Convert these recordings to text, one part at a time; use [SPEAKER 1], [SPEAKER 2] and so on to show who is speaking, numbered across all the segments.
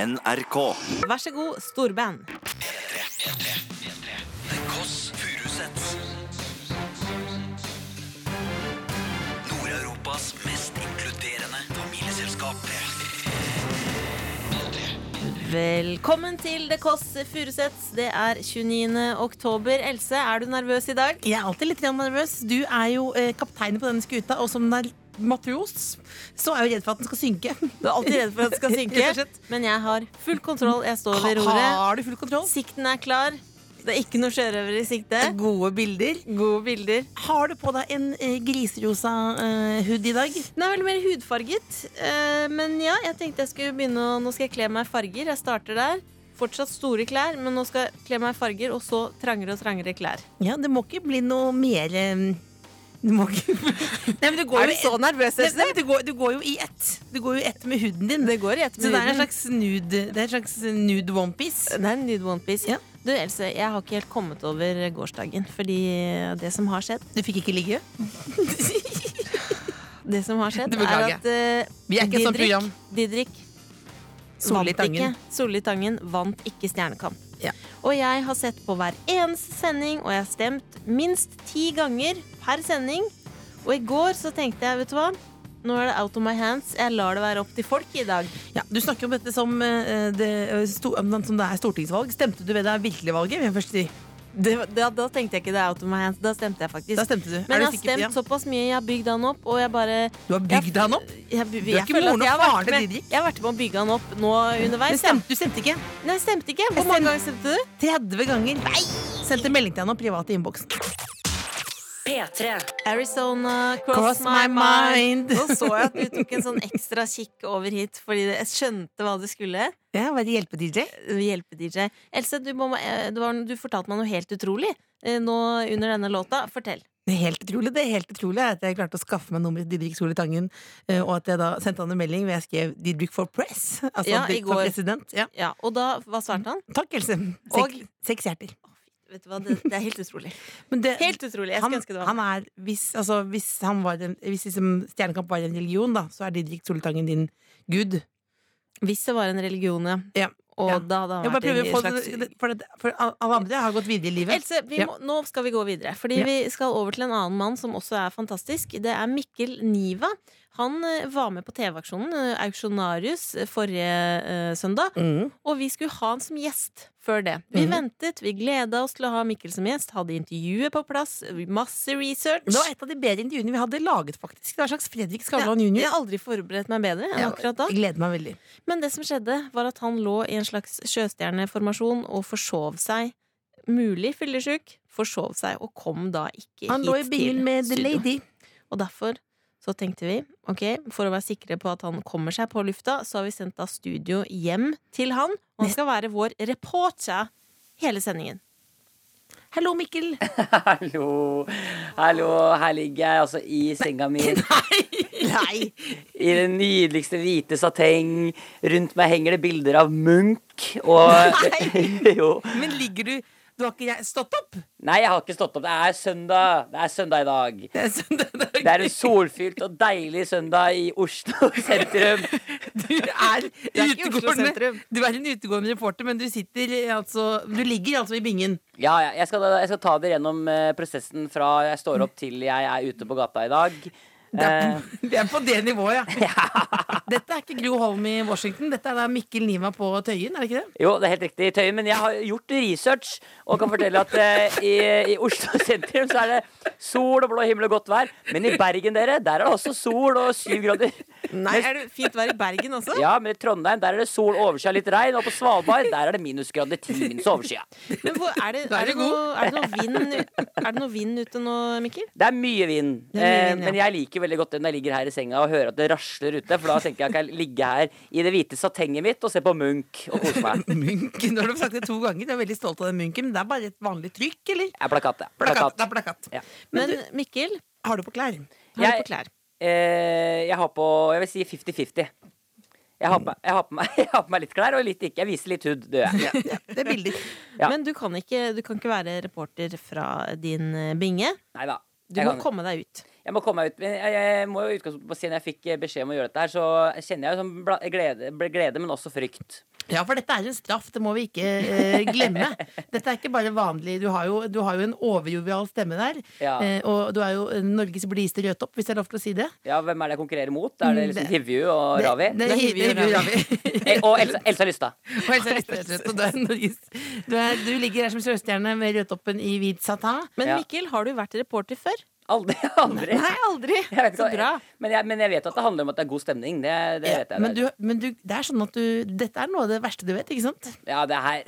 [SPEAKER 1] NRK.
[SPEAKER 2] Vær så god, storband.
[SPEAKER 1] The Kåss Furuseths. Nord-Europas mest inkluderende familieselskap.
[SPEAKER 2] Velkommen til The Kåss Furuseths. Det er 29. oktober. Else, er du nervøs i dag?
[SPEAKER 3] Jeg er alltid litt grann nervøs. Du er jo eh, kapteinen på denne skuta, og som nar- matros så er jeg jo redd for at den skal synke.
[SPEAKER 2] Du er alltid redd for at det skal
[SPEAKER 3] Rett og
[SPEAKER 2] synke.
[SPEAKER 3] slett.
[SPEAKER 2] Men jeg har full kontroll. Jeg står ved roret.
[SPEAKER 3] Har du full kontroll?
[SPEAKER 2] Sikten er klar. Det er ikke noe sjørøver i sikte.
[SPEAKER 3] Gode bilder.
[SPEAKER 2] Gode bilder.
[SPEAKER 3] Har du på deg en eh, griserosa eh, hood i dag?
[SPEAKER 2] Den er veldig mer hudfarget. eh, Men ja, jeg tenkte jeg skulle begynne å Nå skal jeg kle meg i farger. Jeg starter der. Fortsatt store klær, men nå skal jeg kle meg i farger, og så trangere og trangere klær.
[SPEAKER 3] Ja, det må ikke bli noe mer eh, det må ikke Nei, men du går jo i-
[SPEAKER 2] nervøs,
[SPEAKER 3] Nei, nei, men du går, du går jo i ett. Du går jo i ett med huden din.
[SPEAKER 2] Det går i ett
[SPEAKER 3] Så det er en
[SPEAKER 2] minutt.
[SPEAKER 3] slags nude, det er en slags nude onepiece.
[SPEAKER 2] Det er en nude onepiece.
[SPEAKER 3] Ja.
[SPEAKER 2] Du, Else, jeg har ikke helt kommet over gårsdagen. Fordi det som har skjedd,
[SPEAKER 3] Du fikk ikke ligge?
[SPEAKER 2] det som har skjedd
[SPEAKER 3] Det
[SPEAKER 2] er
[SPEAKER 3] beklager jeg.
[SPEAKER 2] at eh,
[SPEAKER 3] Vi er ikke et sånt program.
[SPEAKER 2] Didrik
[SPEAKER 3] Solli
[SPEAKER 2] vant ikke-
[SPEAKER 3] Tangen.
[SPEAKER 2] Solli Tangen vant ikke Stjernekamp.
[SPEAKER 3] Ja.
[SPEAKER 2] Og jeg har sett på hver eneste sending, og jeg har stemt minst ti ganger per sending. Og i går så tenkte jeg, vet du hva, nå er det out of my hands. Jeg lar det være opp til folk i dag.
[SPEAKER 3] Ja, du snakker om dette som, eh, det, eh, sto, om det- som det er stortingsvalg. Stemte du ved det er virkelig valget? vil jeg først si?
[SPEAKER 2] Det, da, da tenkte jeg ikke det er out of my hands. Da stemte jeg faktisk.
[SPEAKER 3] Da stemte du.
[SPEAKER 2] Men jeg
[SPEAKER 3] er du,
[SPEAKER 2] har
[SPEAKER 3] sikker på
[SPEAKER 2] stemt
[SPEAKER 3] det?
[SPEAKER 2] såpass mye. Jeg har bygd han opp, og jeg bare
[SPEAKER 3] du har bygd han opp?
[SPEAKER 2] Jeg, jeg,
[SPEAKER 3] er
[SPEAKER 2] jeg
[SPEAKER 3] ikke
[SPEAKER 2] føler
[SPEAKER 3] moren
[SPEAKER 2] at jeg
[SPEAKER 3] og
[SPEAKER 2] har
[SPEAKER 3] faren
[SPEAKER 2] vært
[SPEAKER 3] til
[SPEAKER 2] med,
[SPEAKER 3] Didrik.
[SPEAKER 2] jeg har vært med å bygge han opp nå
[SPEAKER 3] Men
[SPEAKER 2] underveis.
[SPEAKER 3] stemte, du stemte ikke?
[SPEAKER 2] Jeg- Nei, stemte ikke.
[SPEAKER 3] Jeg
[SPEAKER 2] Hvor mange
[SPEAKER 3] stemte.
[SPEAKER 2] ganger stemte du?
[SPEAKER 3] 30 ganger. Sendte melding til han og privat i innboksen.
[SPEAKER 4] P3.
[SPEAKER 2] Arizona, cross,
[SPEAKER 3] Cross
[SPEAKER 2] my,
[SPEAKER 3] my
[SPEAKER 2] mind.
[SPEAKER 3] mind.
[SPEAKER 2] Nå så jeg at du tok en sånn ekstra kikk over hit fordi jeg skjønte hva du skulle.
[SPEAKER 3] Ja, Være hjelpe-DJ?
[SPEAKER 2] Hjelpe-DJ. Else, du, må, eh, det var, du fortalte meg noe helt utrolig eh, nå under denne låta. Fortell.
[SPEAKER 3] Det er helt utrolig det er helt utrolig er at jeg klarte å skaffe meg nummeret til Didrik Soli Tangen, eh, og at jeg da sendte han en melding hvor jeg skrev 'Didrik for press'. Altså
[SPEAKER 2] Ja, i
[SPEAKER 3] Didrik for
[SPEAKER 2] går.
[SPEAKER 3] president. Ja.
[SPEAKER 2] Ja, Og da, hva svarte han?
[SPEAKER 3] Takk, Else. Seks, seks hjerter.
[SPEAKER 2] Vet du hva, det, det er helt utrolig.
[SPEAKER 3] Men det-
[SPEAKER 2] Helt utrolig. Jeg
[SPEAKER 3] han,
[SPEAKER 2] skulle ønske det var
[SPEAKER 3] han er, hvis, altså, hvis, han var en, hvis liksom, Stjernekamp var en religion, da, så er Didrik Soli Tangen din gud.
[SPEAKER 2] Hvis det var en religion, ja.
[SPEAKER 3] Ja,
[SPEAKER 2] Og
[SPEAKER 3] ja.
[SPEAKER 2] da hadde han
[SPEAKER 3] Jeg bare
[SPEAKER 2] vært
[SPEAKER 3] prøver
[SPEAKER 2] i
[SPEAKER 3] å
[SPEAKER 2] en
[SPEAKER 3] få det,
[SPEAKER 2] slags
[SPEAKER 3] det- for, det, for alle andre har gått videre i livet.
[SPEAKER 2] Else, vi
[SPEAKER 3] Ja.
[SPEAKER 2] må, nå skal vi gå videre. Fordi
[SPEAKER 3] Ja.
[SPEAKER 2] vi skal over til en annen mann som også er fantastisk. Det er Mikkel Niva. Han eh, var med på TV-aksjonen eh, Auksjonarius eh, forrige eh, søndag.
[SPEAKER 3] Mm.
[SPEAKER 2] Og vi skulle ha han som gjest før det. Vi
[SPEAKER 3] Mhm.
[SPEAKER 2] ventet, vi gleda oss til å ha Mikkel som gjest. Hadde intervjuet på plass, masse research.
[SPEAKER 3] Det var et av de bedre intervjuene vi hadde laget, faktisk. Det var en slags Fredrik Skavlan
[SPEAKER 2] jeg, jeg
[SPEAKER 3] jr.
[SPEAKER 2] har aldri forberedt meg bedre enn
[SPEAKER 3] Ja,
[SPEAKER 2] akkurat da.
[SPEAKER 3] Jeg gleder meg veldig.
[SPEAKER 2] Men det som skjedde, var at han lå i en slags sjøstjerneformasjon og forsov seg. Mulig fyllesyk. Forsov seg og kom da ikke
[SPEAKER 3] Han
[SPEAKER 2] hit
[SPEAKER 3] lå i bilen
[SPEAKER 2] til
[SPEAKER 3] med The
[SPEAKER 2] studio.
[SPEAKER 3] Lady.
[SPEAKER 2] Og derfor så tenkte vi ok, for å være sikre på at han kommer seg på lufta, så har vi sendt da studio hjem til han. Og han skal være vår reporter hele sendingen.
[SPEAKER 3] Hallo, Mikkel.
[SPEAKER 5] Hallo. Hallo, her ligger jeg altså i senga mi.
[SPEAKER 3] Nei!
[SPEAKER 5] I den nydeligste hvite sateng. Rundt meg henger det bilder av Munch og Jo.
[SPEAKER 3] Men ligger du Du har ikke jeg- stått opp?
[SPEAKER 5] Nei, jeg har ikke stått opp. Det er søndag. Det er søndag i dag.
[SPEAKER 3] Det er sånn det er.
[SPEAKER 5] Det er en solfylt og deilig søndag i Oslo sentrum.
[SPEAKER 3] Du er
[SPEAKER 2] ikke i Oslo sentrum.
[SPEAKER 3] utegående Du er en utegående reporter, men du sitter eh, altså Du ligger altså i bingen.
[SPEAKER 5] Ja, ja. Jeg skal, jeg skal ta dere gjennom eh, prosessen fra jeg står opp til jeg er ute på gata i dag.
[SPEAKER 3] Det er,
[SPEAKER 5] Eh,
[SPEAKER 3] på, det er på det nivået, ja. Dette er ikke Gro Holm i Washington. Dette er da Mikkel Niva på Tøyen, er det ikke det?
[SPEAKER 5] Jo, det er helt riktig, Tøyen, men jeg har gjort research og kan fortelle at eh, i, i Oslo sentrum så er det sol og blå himmel og godt vær. Men i Bergen, dere, der er det også sol og syv grader.
[SPEAKER 2] Nei, Er det fint vær i Bergen også?
[SPEAKER 5] Ja, men i Trondheim der er det sol, overskya, litt regn. Og på Svalbard der er det minusgrader, ti minus overskya.
[SPEAKER 2] Men hvor, er, det,
[SPEAKER 3] Da er
[SPEAKER 2] er, det
[SPEAKER 3] du god.
[SPEAKER 2] noe, er det noe vind Er det noe vind ute nå, Mikkel?
[SPEAKER 5] Det er mye vind.
[SPEAKER 2] Det er mye
[SPEAKER 5] eh,
[SPEAKER 2] vind,
[SPEAKER 5] Men jeg liker veldig godt det når jeg ligger her i senga og hører at det rasler ute. For da tenker jeg at jeg kan ligge her i det hvite satenget mitt og se på Munch og kose meg.
[SPEAKER 3] Munch. Nå har du sagt det to ganger. Du er veldig stolt av den Munchen, men det er bare et vanlig trykk, eller?
[SPEAKER 5] Det er plakat, det.
[SPEAKER 3] Plakat.
[SPEAKER 5] Plakat.
[SPEAKER 3] Det er plakat.
[SPEAKER 5] Ja.
[SPEAKER 2] Men Mikkel,
[SPEAKER 3] Har du på klær?
[SPEAKER 2] har du
[SPEAKER 5] Jeg-
[SPEAKER 2] på klær?
[SPEAKER 5] Eh, jeg har på Jeg vil si 50-50. Jeg har, på, jeg, har på meg, jeg har på meg litt klær og litt ikke. Jeg viser litt hud, det gjør jeg.
[SPEAKER 3] Det er bilder.
[SPEAKER 5] Ja.
[SPEAKER 2] Men du kan, ikke, du kan ikke være reporter fra din eh, binge.
[SPEAKER 5] Nei da.
[SPEAKER 2] Du
[SPEAKER 5] Jeg
[SPEAKER 2] må
[SPEAKER 5] kan,
[SPEAKER 2] komme deg ut.
[SPEAKER 5] Jeg må komme meg ut men jeg, jeg må jo i utgangspunktet bare si når jeg fikk eh, beskjed om å gjøre dette her, så kjenner jeg jo sånn bla- glede, ble- glede, men også frykt.
[SPEAKER 3] Ja, for dette er en straff, det må vi ikke eh, glemme. Dette er ikke bare vanlig. Du har jo, du har jo en overjovial stemme der.
[SPEAKER 5] Ja.
[SPEAKER 3] Eh, og du er jo Norges blideste rødtopp, hvis det er lov til å si det.
[SPEAKER 5] Ja, hvem er det jeg konkurrerer mot? Er
[SPEAKER 2] Mm,
[SPEAKER 5] det liksom Hivju og
[SPEAKER 3] Det-
[SPEAKER 5] Ravi?
[SPEAKER 3] Det, det,
[SPEAKER 2] Hivi og
[SPEAKER 3] hiver jo
[SPEAKER 2] Ravi.
[SPEAKER 3] Ravi.
[SPEAKER 5] Eh, Og Elsa, Elsa Lystad.
[SPEAKER 3] Og Else er rett og slett, og du, er Norges- du, er, du ligger der som sørstjerne med rødtoppen i hvit satin.
[SPEAKER 2] Men
[SPEAKER 5] Ja.
[SPEAKER 2] Mikkel, har du vært reporter før?
[SPEAKER 5] Aldri. aldri.
[SPEAKER 2] Nei, aldri.
[SPEAKER 5] Jeg vet ikke
[SPEAKER 2] Så
[SPEAKER 5] hva-
[SPEAKER 2] bra.
[SPEAKER 5] Men, jeg, men jeg vet at det handler om at det er god stemning. Det, det vet jeg.
[SPEAKER 3] Men, du, men du, det er sånn at du, dette er noe av det verste du vet, ikke sant?
[SPEAKER 5] Ja, det her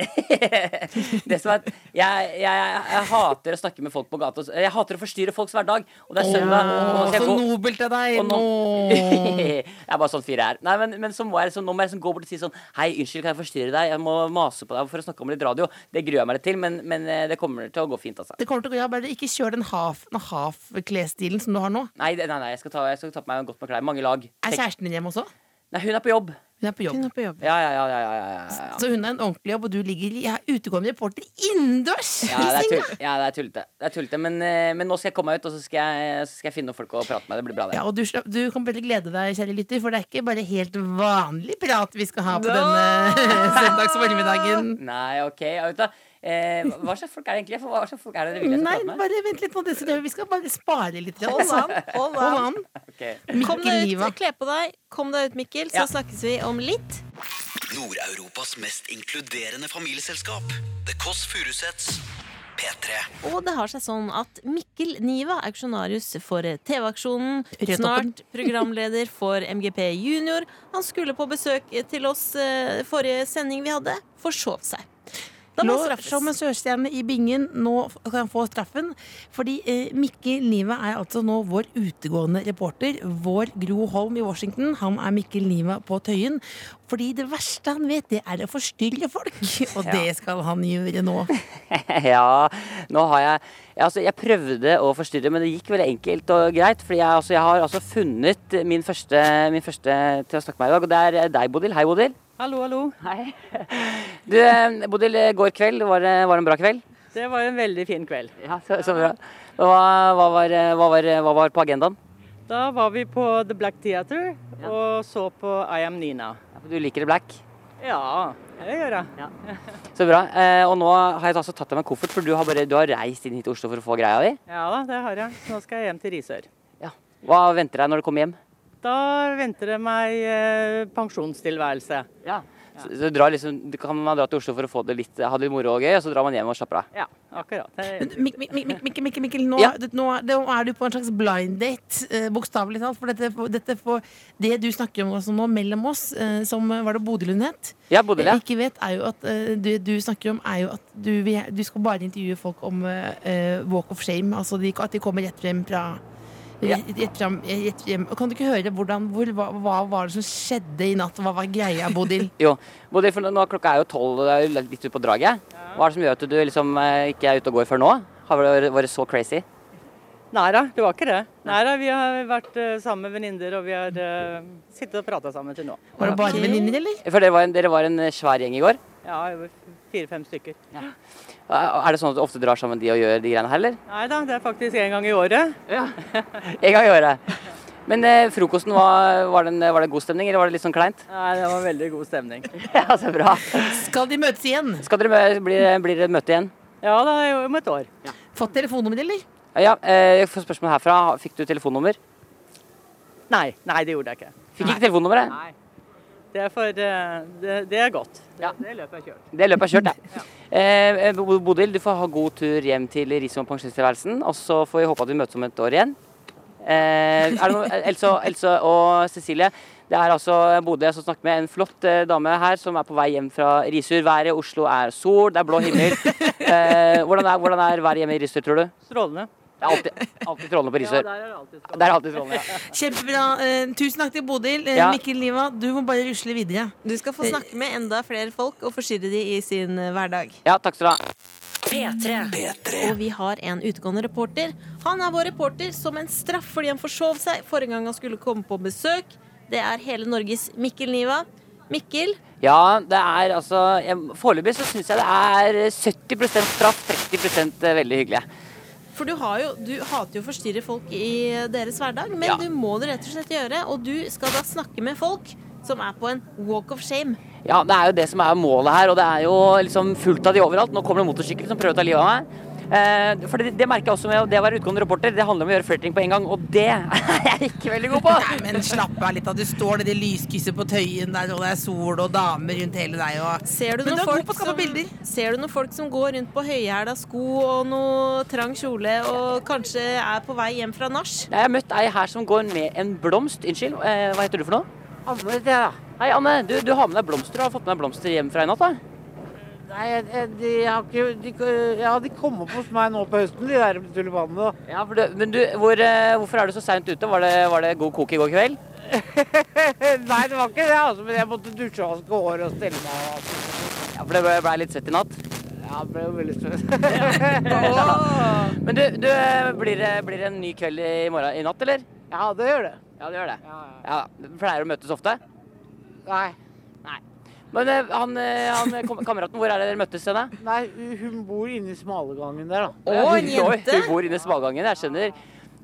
[SPEAKER 5] Det som er at jeg, jeg, jeg hater å snakke med folk på gata. Jeg hater å forstyrre folks hverdag. Og det er søndag. og nå
[SPEAKER 3] Åh,
[SPEAKER 5] skal jeg
[SPEAKER 3] så
[SPEAKER 5] gå-
[SPEAKER 3] nobelt av deg!
[SPEAKER 5] og nå,
[SPEAKER 3] Nå.
[SPEAKER 5] jeg er bare sånn fyr jeg er. Nei, men, men så må jeg, liksom- nå må jeg liksom gå bort og si sånn Hei, unnskyld, kan jeg forstyrre deg? Jeg må mase på deg for å snakke om litt radio. Det gruer jeg meg litt til, men, men eh, det kommer til å gå fint, altså.
[SPEAKER 3] Det kommer til å gå, ja, bare Ikke kjør den half- den half-klesstilen som du har nå.
[SPEAKER 5] Nei, det- nei, nei jeg, skal ta, jeg skal ta på meg godt med klær. Mange lag.
[SPEAKER 3] Er
[SPEAKER 5] Tenk-
[SPEAKER 3] kjæresten din hjemme også?
[SPEAKER 5] Nei, hun er på jobb.
[SPEAKER 3] Hun er på jobb.
[SPEAKER 2] Hun er på jobb.
[SPEAKER 5] Ja, ja, ja. ja, ja, ja, ja.
[SPEAKER 3] Så hun er en ordentlig jobb, og du ligger i- er utegående reporter innendørs!
[SPEAKER 5] Ja,
[SPEAKER 3] i
[SPEAKER 5] det er,
[SPEAKER 3] senga.
[SPEAKER 5] tull, ja, det er tullete. Det er tullete men, eh, men nå skal jeg komme meg ut, og så skal jeg, så skal jeg finne noen folk å prate med. Det blir bra, det.
[SPEAKER 3] Ja, og du, slapp- du kan bare glede deg, kjære lytter, for det er ikke bare helt vanlig prat vi skal ha på denne søndags formiddagen.
[SPEAKER 5] Nei, OK. ja, vet du hva. Eh, hva slags folk er det egentlig? For hva slags folk er det dere vil jeg skal
[SPEAKER 3] Nei,
[SPEAKER 5] prate med?
[SPEAKER 3] bare vent litt på det. så det- Vi skal bare spare litt. grann.
[SPEAKER 2] Hold an, hold
[SPEAKER 3] Hold
[SPEAKER 2] an.
[SPEAKER 3] an.
[SPEAKER 5] Ok.
[SPEAKER 2] Kom
[SPEAKER 3] Mikkel
[SPEAKER 2] deg ut,
[SPEAKER 3] Niva.
[SPEAKER 2] kle på deg. Kom deg ut, Mikkel, så
[SPEAKER 5] Ja.
[SPEAKER 2] snakkes vi om litt.
[SPEAKER 1] Nord-Europas mest inkluderende familieselskap. The Kåss Furuseths. P3.
[SPEAKER 2] Og det har seg sånn at Mikkel Niva, auksjonarius for TV-aksjonen,
[SPEAKER 3] Rødtoppen.
[SPEAKER 2] snart programleder for MGP Junior, han skulle på besøk til oss eh, forrige sending vi hadde, forsov seg. Da må
[SPEAKER 3] Lå
[SPEAKER 2] han straffes.
[SPEAKER 3] som en sørstjerne i bingen. Nå f- kan han få straffen. Fordi eh, Mikkel Niva er altså nå vår utegående reporter. Vår Gro Holm i Washington. Han er Mikkel Niva på Tøyen. Fordi det verste han vet, det er å forstyrre folk. Og det skal han gjøre nå.
[SPEAKER 5] Ja, nå har jeg ja, altså, Jeg prøvde å forstyrre, men det gikk veldig enkelt og greit. Fordi jeg, altså, jeg har altså funnet min første, min første til å snakke med meg i dag, og det er eh, deg, Bodil. Hei, Bodil.
[SPEAKER 6] Hallo, hallo.
[SPEAKER 5] Hei. Du, eh, Bodil, eh, går kveld var det, var det en bra kveld?
[SPEAKER 6] Det var en veldig fin kveld.
[SPEAKER 5] Ja, så, så bra. Hva, hva, var, eh, hva, var, eh, hva var på agendaen?
[SPEAKER 6] Da var vi på The Black Theater og så på I Am Nina.
[SPEAKER 5] Ja, for Du liker det black.
[SPEAKER 6] Ja, det gjør jeg.
[SPEAKER 5] Så bra. Eh, og nå har jeg altså tatt deg med en koffert, for du har, bare, du har reist inn hit til Oslo for å få greia di.
[SPEAKER 6] Ja da, det har jeg. Så nå skal jeg hjem til Risør.
[SPEAKER 5] Ja. Hva venter deg når du kommer hjem?
[SPEAKER 6] Da venter det meg eh, pensjonstilværelse.
[SPEAKER 5] Ja. Så, så drar liksom, du kan man dra til Oslo for å få det litt, ha det litt moro og gøy, og så drar man hjem og slapper av.
[SPEAKER 6] Ja, akkurat. Det,
[SPEAKER 3] Mik- Mik- Mik- Mik- Mikkel, Mikkel, Mikkel, nå,
[SPEAKER 5] Ja.
[SPEAKER 3] det- nå, er- nå er du på en slags blind date, eh, bokstavelig talt. For dette, dette får- det du snakker om også nå mellom oss, eh, som eh, var det Bodil hun het,
[SPEAKER 5] Ja, Bodil, ja.
[SPEAKER 3] ikke vet, er jo at eh, det du snakker om, er jo at du, vil- du skal bare intervjue folk om eh, eh, walk of shame. Altså de, at de kommer rett frem fra Rett, rett frem, rett frem. Og Kan du ikke høre hvordan, hvor, hva, hva var det som skjedde i natt? Hva var greia, Bodil?
[SPEAKER 5] Jo. Bodil, for nå- nå klokka er jo tolv, og det er jo litt ute på draget. Hva er det som gjør at du liksom eh, ikke er ute og går før nå? Har det vært- vært så crazy?
[SPEAKER 6] nei da, det var ikke det. Nei da, vi har vært eh, sammen med venninner, og vi har eh, sittet og prata sammen til nå.
[SPEAKER 3] Var det bare
[SPEAKER 2] Ok.
[SPEAKER 3] venninner, eller?
[SPEAKER 5] For dere var en, dere var en eh, svær gjeng i går.
[SPEAKER 6] Ja, fire-fem stykker.
[SPEAKER 5] Eh, Er det sånn at du ofte drar sammen de og gjør de greiene her, eller?
[SPEAKER 6] Nei da, det er faktisk én gang i året.
[SPEAKER 5] En gang i året. Men eh, frokosten, var, var, den, var det god stemning, eller var det litt sånn kleint?
[SPEAKER 6] Nei, det var veldig god stemning.
[SPEAKER 5] Ja, så bra.
[SPEAKER 3] Skal de møtes igjen?
[SPEAKER 5] Skal dere, mø- blir, blir det møte igjen?
[SPEAKER 6] Ja da, det er jo om et år.
[SPEAKER 3] Fått telefonnummeret, eller?
[SPEAKER 5] Ja, eh, jeg får spørsmål herfra. Fikk du telefonnummer?
[SPEAKER 6] Nei, nei, det gjorde jeg ikke.
[SPEAKER 5] Fikk ikke telefonnummeret?
[SPEAKER 6] Nei. Det er, for, eh, det, det er godt.
[SPEAKER 5] Ja.
[SPEAKER 6] Det løpet er kjørt.
[SPEAKER 5] Det løpet er kjørt, jeg. Eh, eh, Bo- Bodil, du får ha god tur hjem til Risom og pensjonisttilværelsen. Og så får vi håpe at vi møtes om et år igjen. Eh, er det noe, Else, Else og Cecilie, det er altså Bodil jeg skal snakke med. En flott eh, dame her som er på vei hjem fra Risør. Været i Oslo er sol, det er blå himmel. Eh, hvordan, er, hvordan er været hjemme i Risør, tror du?
[SPEAKER 6] Strålende.
[SPEAKER 5] Det er alltid, alltid trollene på Risør.
[SPEAKER 6] der er det alltid strålende.
[SPEAKER 5] Det er alltid trollene, ja.
[SPEAKER 3] Kjempebra. Eh, tusen takk til Bodil. Eh,
[SPEAKER 5] Ja.
[SPEAKER 3] Mikkel Niva, du må bare rusle videre.
[SPEAKER 2] Du skal få snakke med enda flere folk og forstyrre de i sin eh, hverdag.
[SPEAKER 5] Ja, takk skal du ha.
[SPEAKER 4] P3.
[SPEAKER 2] Og vi har en utegående reporter. Han er vår reporter som en straff fordi han forsov seg forrige gang han skulle komme på besøk. Det er hele Norges Mikkel Niva. Mikkel,
[SPEAKER 5] Ja, det er altså jeg- Foreløpig så syns jeg det er 70 straff, 30 veldig eh, hyggelig.
[SPEAKER 2] For du, har jo, du hater jo å forstyrre folk i eh, deres hverdag, men
[SPEAKER 5] Ja.
[SPEAKER 2] du må det rett og slett gjøre. Og du skal da snakke med folk som er på en walk of shame.
[SPEAKER 5] Ja, det er jo det som er målet her, og det er jo liksom fullt av de overalt. Nå kommer det motorsykkel som prøver å ta livet av meg. Eh, for det, det merker jeg også med det å være utgående reporter. Det handler om å gjøre flere ting på en gang, og det er jeg ikke veldig god på.
[SPEAKER 3] Nei, men slapp av litt, da. Du står nedi lyskrysset på Tøyen der, og det er sol og damer rundt hele deg og
[SPEAKER 2] Ser du,
[SPEAKER 3] Men
[SPEAKER 2] noen
[SPEAKER 3] du er god på
[SPEAKER 2] folk
[SPEAKER 3] å skape bilder.
[SPEAKER 2] som, ser du noen folk som går rundt på høyhæla sko og noe trang kjole, og kanskje er på vei hjem fra nach?
[SPEAKER 5] Nei, Jeg har møtt ei her som går med en blomst. Unnskyld, eh, hva heter du for noe? Anne heter jeg, da. Hei, Anne. Du, du har med deg blomster. Du har fått med deg blomster hjem fra i natt, da?
[SPEAKER 7] Nei, jeg- jeg- de har ikke de, Ja, de kom opp hos meg nå på høsten, de der tulipanene. da.
[SPEAKER 5] Ja, for du, men du, hvor, eh, hvorfor er du så seint ute? Var det, var det god kok i går kveld?
[SPEAKER 7] Nei, det var ikke det, altså. Men jeg måtte dusje og vaske håret og stelle meg. og alt.
[SPEAKER 5] Ja, for det ble, ble litt svett i natt.
[SPEAKER 7] Ja, det ble jo veldig spennende.
[SPEAKER 5] Men du, du eh, blir, det- blir det en ny kveld i morgen i natt, eller?
[SPEAKER 7] Ja, det gjør det.
[SPEAKER 5] Ja, det gjør det.
[SPEAKER 7] Ja,
[SPEAKER 5] Ja, du Pleier å møtes ofte?
[SPEAKER 7] Nei.
[SPEAKER 5] Men eh, han, eh, han kom, kameraten, hvor er det dere møttes hen? da?
[SPEAKER 7] Nei, hun bor inne i smalegangen der, da.
[SPEAKER 2] Å, en
[SPEAKER 5] Oi,
[SPEAKER 2] jente!
[SPEAKER 5] Hun bor inne i smalgangen, jeg skjønner.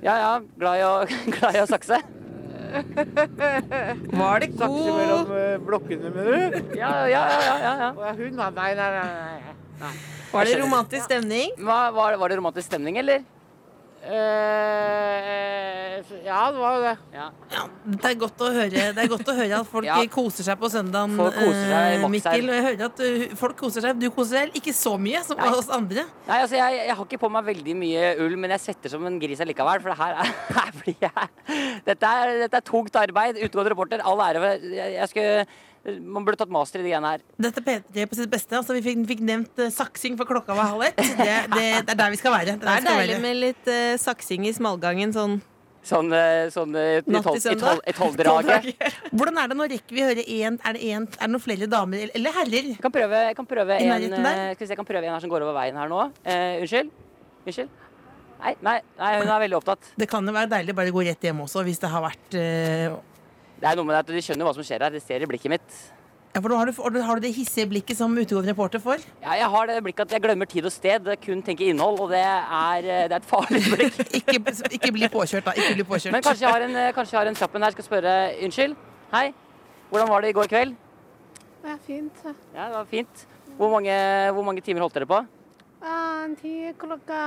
[SPEAKER 5] Ja ja, glad i å, glad i å sakse.
[SPEAKER 2] Var det
[SPEAKER 7] Sakse
[SPEAKER 2] god
[SPEAKER 7] mellom eh, blokkene, mener du?
[SPEAKER 5] Ja ja ja. ja, ja, ja.
[SPEAKER 7] Å, ja, hun, da. Nei, nei, nei. nei.
[SPEAKER 2] Var det romantisk stemning?
[SPEAKER 5] Hva, var, var det romantisk stemning, eller?
[SPEAKER 7] Eh, ja, det var jo det.
[SPEAKER 5] Ja.
[SPEAKER 3] Det er godt å høre, det er godt å høre at folk
[SPEAKER 5] Ja.
[SPEAKER 3] koser seg på søndagen,
[SPEAKER 5] Folk koser seg i
[SPEAKER 3] eh,
[SPEAKER 5] maks her.
[SPEAKER 3] Mikkel. Og jeg hører at du, folk koser seg. Du koser deg ikke så mye som
[SPEAKER 5] Nei.
[SPEAKER 3] oss andre.
[SPEAKER 5] Nei, altså jeg, jeg har ikke på meg veldig mye ull, men jeg svetter som en gris allikevel. For det her, er, her blir jeg dette er, dette er tungt arbeid. Utgående reporter, all ære. for Jeg, jeg skulle, man burde tatt master i de greiene her.
[SPEAKER 3] Dette er P3 på sitt beste. Altså, vi fikk, fikk nevnt eh, saksing, for klokka var halv ett. Det, det, det er der vi skal være.
[SPEAKER 2] Det er
[SPEAKER 3] der vi skal
[SPEAKER 2] deilig
[SPEAKER 3] være.
[SPEAKER 2] med litt eh, saksing i smalgangen sånn.
[SPEAKER 5] Sånn, eh, sånn eh, i
[SPEAKER 2] Natt til
[SPEAKER 5] tolv- i
[SPEAKER 2] søndag.
[SPEAKER 5] tolv- i tolvdraget.
[SPEAKER 3] Hvordan er det nå? Rekker vi å høre én? Er det én? Er det noen flere damer eller- eller herrer?
[SPEAKER 5] Jeg kan prøve, jeg kan prøve,
[SPEAKER 3] I
[SPEAKER 5] en,
[SPEAKER 3] nærheten der?
[SPEAKER 5] eh, skal vi se, jeg kan prøve en her som går over veien her nå. Eh, unnskyld? Unnskyld? Nei, nei, nei, hun er veldig opptatt.
[SPEAKER 3] Det kan jo være deilig å bare gå rett hjem også, hvis det har vært eh,
[SPEAKER 5] Det er noe med det at De skjønner hva som skjer her. De ser i blikket mitt.
[SPEAKER 3] ja, for nå har, du, og har du det hissige blikket som utegående reporter får?
[SPEAKER 5] Ja, jeg har det blikket at jeg glemmer tid og sted. Jeg kun tenker innhold, og det er, eh, det er et farlig blikk.
[SPEAKER 3] Ikke, ikke bli påkjørt, da. Ikke bli påkjørt.
[SPEAKER 5] Men kanskje jeg har en, eh, kanskje jeg har en kjapp en her. Skal spørre Unnskyld? Hei. Hvordan var det i går kveld?
[SPEAKER 8] Det er fint. ja.
[SPEAKER 5] Ja, det var fint. Hvor mange, hvor mange timer holdt dere på?
[SPEAKER 8] Ah, Til klokka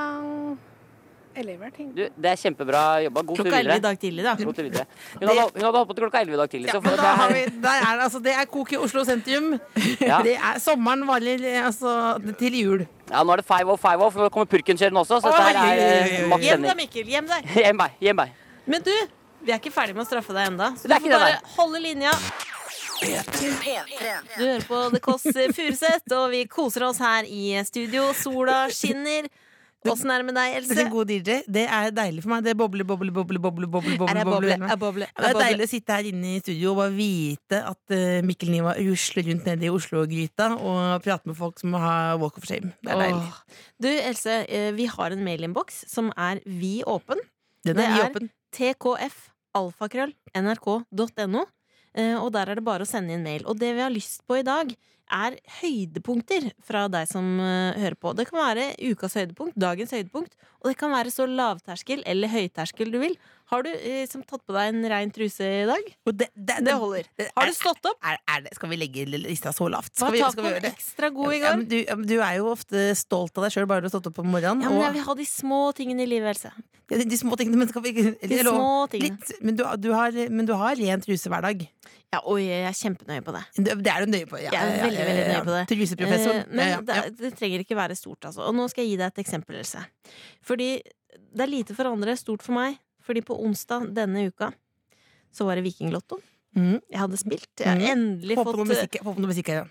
[SPEAKER 8] elleve, tenker jeg.
[SPEAKER 5] Du, det er kjempebra jobba. God tur
[SPEAKER 2] Klokka 11 i
[SPEAKER 5] videre.
[SPEAKER 2] dag tidlig, da.
[SPEAKER 5] God tur videre. Hun hadde, hun hadde holdt på til klokka 11 i dag tidlig.
[SPEAKER 3] Ja,
[SPEAKER 5] Så
[SPEAKER 3] men
[SPEAKER 5] for
[SPEAKER 3] da har
[SPEAKER 5] at
[SPEAKER 3] vi,
[SPEAKER 5] det er,
[SPEAKER 3] der er, det, altså, det er kok i Oslo sentrum.
[SPEAKER 5] Ja.
[SPEAKER 3] Det er, sommeren varer eh, altså, til jul.
[SPEAKER 5] ja, nå er det five off, five off. Nå kommer purkenkjøren også, så dette her er eh, maks
[SPEAKER 2] Hjem da,
[SPEAKER 5] sending.
[SPEAKER 2] Mikkel. Hjem der.
[SPEAKER 5] Hjem meg. Hjem meg.
[SPEAKER 2] Men du, vi er ikke ferdig med å straffe deg ennå. Så du
[SPEAKER 5] Det er
[SPEAKER 2] får
[SPEAKER 5] ikke det,
[SPEAKER 2] bare
[SPEAKER 5] nei.
[SPEAKER 2] holde linja.
[SPEAKER 4] P3.
[SPEAKER 2] Du hører på The Kåss Furuseth, og vi koser oss her i studio. Sola skinner. Åssen er det med deg,
[SPEAKER 3] Det er en
[SPEAKER 2] Else?
[SPEAKER 3] god DJ. Det er deilig for meg. Det bobler, bobler, bobler, bobler. bobler, bobler,
[SPEAKER 2] Er jeg
[SPEAKER 3] bobler.
[SPEAKER 2] boble? Er jeg boble?
[SPEAKER 3] Det
[SPEAKER 2] Er jeg
[SPEAKER 3] er
[SPEAKER 2] boble?
[SPEAKER 3] deilig å sitte her inne i studio og bare vite at eh, Mikkel Niva rusler rundt nede i Oslo-gryta og prater med folk som har walk of shame. Det er deilig.
[SPEAKER 2] Åh. Du, Else, eh, vi har en mailinnboks som er vidåpen.
[SPEAKER 3] Den er
[SPEAKER 2] det er-
[SPEAKER 3] åpen.
[SPEAKER 2] tkf alfakrøll nrk.no eh, Og der er det bare å sende inn mail. Og det vi har lyst på i dag, er høydepunkter fra deg som eh, hører på. Det kan være ukas høydepunkt, dagens høydepunkt, og det kan være så lavterskel eller høyterskel du vil. Har du eh, som tatt på deg en rein truse i dag?
[SPEAKER 3] Og det, det,
[SPEAKER 2] Det holder. Har du stått opp?
[SPEAKER 3] Er, er det, skal vi legge lista så lavt?
[SPEAKER 2] Var
[SPEAKER 3] Skal vi, skal vi
[SPEAKER 2] tacoen
[SPEAKER 3] gjøre det?
[SPEAKER 2] ekstra god i
[SPEAKER 3] Ja,
[SPEAKER 2] går?
[SPEAKER 3] men du, ja, men du er jo ofte stolt av deg sjøl bare du har stått opp om morgenen.
[SPEAKER 2] Ja, men jeg
[SPEAKER 3] og,
[SPEAKER 2] vil ha de små tingene i livet, Else.
[SPEAKER 3] Ja, de små tingene, men skal vi ikke
[SPEAKER 2] De
[SPEAKER 3] eller lov-
[SPEAKER 2] små tingene.
[SPEAKER 3] Litt, men, du, du har, men du har rent truse hver dag.
[SPEAKER 2] Ja, oi, jeg er kjempenøye på det.
[SPEAKER 3] Det det er du nøye på. Ja,
[SPEAKER 2] Jeg er
[SPEAKER 3] ja, ja,
[SPEAKER 2] veldig,
[SPEAKER 3] ja,
[SPEAKER 2] veldig
[SPEAKER 3] ja.
[SPEAKER 2] nøye på det.
[SPEAKER 3] Truseprofessoren.
[SPEAKER 2] Eh, Men
[SPEAKER 3] Ja,
[SPEAKER 2] det,
[SPEAKER 3] ja, ja.
[SPEAKER 2] er- det trenger ikke være stort, altså. Og nå skal jeg gi deg et eksempel, Else. Fordi det er lite for andre, stort for meg. Fordi på onsdag denne uka så var det Vikinglotto.
[SPEAKER 3] Mm.
[SPEAKER 2] Jeg hadde spilt. Jeg har
[SPEAKER 3] Mm.
[SPEAKER 2] endelig
[SPEAKER 3] Få på noe
[SPEAKER 2] fått,
[SPEAKER 3] musikk- få på noe musikk her. ja.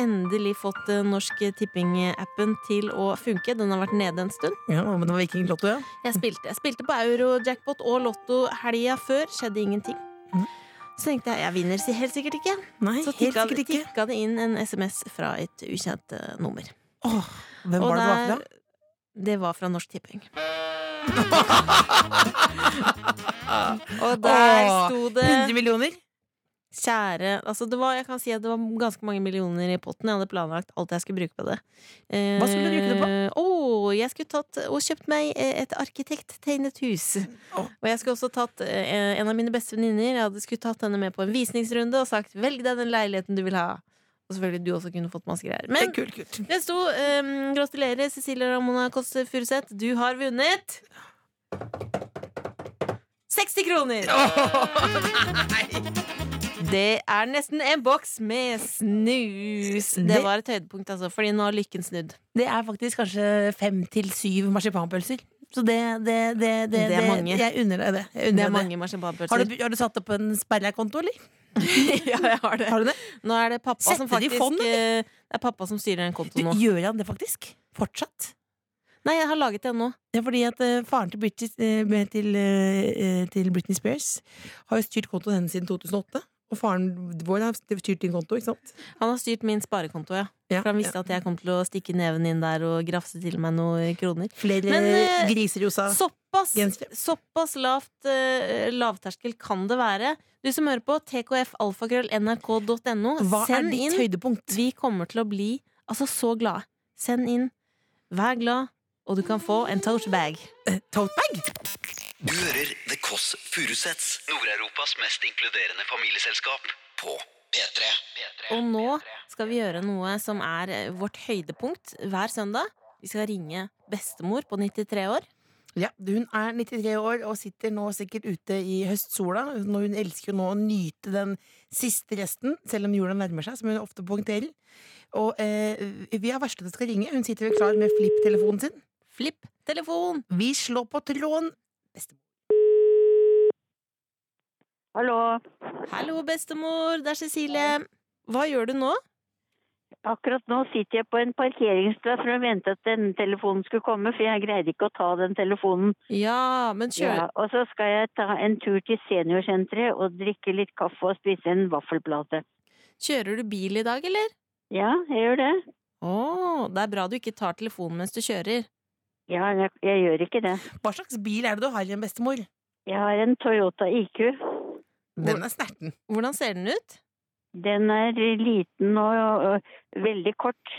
[SPEAKER 2] endelig fått eh, Norsk Tipping-appen til å funke. Den har vært nede en stund.
[SPEAKER 3] Ja, men det var Vikinglotto, ja.
[SPEAKER 2] Jeg spilte, jeg spilte på euro-jackpot og lotto helga før. Skjedde ingenting.
[SPEAKER 3] Mhm.
[SPEAKER 2] Så tenkte jeg jeg vinner si- helt sikkert ikke.
[SPEAKER 3] Nei,
[SPEAKER 2] Så
[SPEAKER 3] helt
[SPEAKER 2] tikka,
[SPEAKER 3] sikkert ikke.
[SPEAKER 2] tikka det inn en SMS fra et ukjent eh, nummer.
[SPEAKER 3] Åh, hvem var det det var
[SPEAKER 2] der-
[SPEAKER 3] fra?
[SPEAKER 2] Det var fra Norsk Tipping. og der
[SPEAKER 3] Åh,
[SPEAKER 2] sto
[SPEAKER 3] 100
[SPEAKER 2] det
[SPEAKER 3] millioner?
[SPEAKER 2] Kjære altså det var, Jeg kan si at det var ganske mange millioner i potten. Jeg hadde planlagt alt jeg skulle bruke på det. Eh,
[SPEAKER 3] Hva skulle du bruke det
[SPEAKER 2] Å, jeg skulle tatt og kjøpt meg eh, et arkitekttegnet hus.
[SPEAKER 3] Åh.
[SPEAKER 2] Og jeg skulle også tatt eh, en av mine beste venninner. Jeg hadde skulle tatt henne med på en visningsrunde og sagt 'velg deg den leiligheten du vil ha'. Og selvfølgelig du også kunne fått masse greier. Men
[SPEAKER 3] Kult, kult.
[SPEAKER 2] det sto um, 'Gratulerer, Cecilie Ramona Kåss Furuseth. Du har vunnet 60 kroner'! Det er nesten en boks med snus. Det
[SPEAKER 3] Det-
[SPEAKER 2] var et høydepunkt, altså, fordi nå har lykken snudd.
[SPEAKER 3] Det er faktisk kanskje fem til syv marsipanpølser. Så det, det, det, det,
[SPEAKER 2] Det er mange.
[SPEAKER 3] Jeg unner deg det. Jeg unner
[SPEAKER 2] Det er
[SPEAKER 3] deg
[SPEAKER 2] mange
[SPEAKER 3] Har
[SPEAKER 2] marsipanpølser.
[SPEAKER 3] du, har du satt opp en sperrekonto, eller?
[SPEAKER 2] ja, jeg har det.
[SPEAKER 3] Har du det?
[SPEAKER 2] Nå er det pappa som
[SPEAKER 3] Setter de
[SPEAKER 2] faktisk
[SPEAKER 3] fond,
[SPEAKER 2] eh, Det er pappa som styrer den
[SPEAKER 3] Du,
[SPEAKER 2] kontoen nå.
[SPEAKER 3] gjør han det faktisk? Fortsatt?
[SPEAKER 2] Nei, jeg har laget den nå.
[SPEAKER 3] Det er fordi at eh, faren til Britney, eh, til, eh, til Britney Spears har jo styrt kontoen hennes siden 2008. Og faren vår har styrt din konto, ikke sant?
[SPEAKER 2] Han har styrt min sparekonto, ja.
[SPEAKER 3] Ja,
[SPEAKER 2] For han visste at jeg kom til å stikke neven inn der og grafse til meg noen kroner.
[SPEAKER 3] Flere
[SPEAKER 2] Men, eh,
[SPEAKER 3] griserosa
[SPEAKER 2] Såpass,
[SPEAKER 3] Gensere.
[SPEAKER 2] såpass lavt eh, lavterskel kan det være. Du som hører på, tkfalfakrøll.nrk.no.
[SPEAKER 3] Hva er
[SPEAKER 2] Send
[SPEAKER 3] ditt
[SPEAKER 2] inn
[SPEAKER 3] høydepunkt?
[SPEAKER 2] Vi kommer til å bli altså så glade. Send inn. Vær glad, og du kan få en tote bag.
[SPEAKER 3] Eh, Totebag?
[SPEAKER 1] Du hører The Kåss Furuseths, Nord-Europas mest inkluderende familieselskap, på P3.
[SPEAKER 2] Og nå skal vi gjøre noe som er eh, vårt høydepunkt hver søndag. Vi skal ringe bestemor på 93 år.
[SPEAKER 3] Ja, hun er 93 år og sitter nå sikkert ute i høstsola. Hun hun elsker jo nå å nyte den siste resten, selv om jula nærmer seg, som hun ofte poengterer. Og eh, vi har varslet at det skal ringe. Hun sitter vel klar med flipp-telefonen sin.
[SPEAKER 2] Flipp telefon!
[SPEAKER 3] Vi slår på tråden.
[SPEAKER 9] Hallo.
[SPEAKER 2] Hallo, bestemor. Det er Cecilie. Hva gjør du nå?
[SPEAKER 9] Akkurat nå sitter jeg på en parkeringsplass for å vente at denne telefonen skulle komme, for jeg greide ikke å ta den telefonen.
[SPEAKER 2] Ja, men kjør.
[SPEAKER 9] Ja, og så skal jeg ta en tur til seniorsenteret og drikke litt kaffe og spise en vaffelplate.
[SPEAKER 2] kjører du bil i dag, eller?
[SPEAKER 9] Ja, jeg gjør det.
[SPEAKER 2] Å, det er bra du ikke tar telefonen mens du kjører.
[SPEAKER 9] Ja, jeg, jeg gjør ikke det.
[SPEAKER 3] Hva slags bil er det du har igjen, bestemor?
[SPEAKER 9] Jeg har en Toyota IQ.
[SPEAKER 3] Den er snerten.
[SPEAKER 2] Hvordan ser den ut?
[SPEAKER 9] Den er liten og, og, og veldig kort.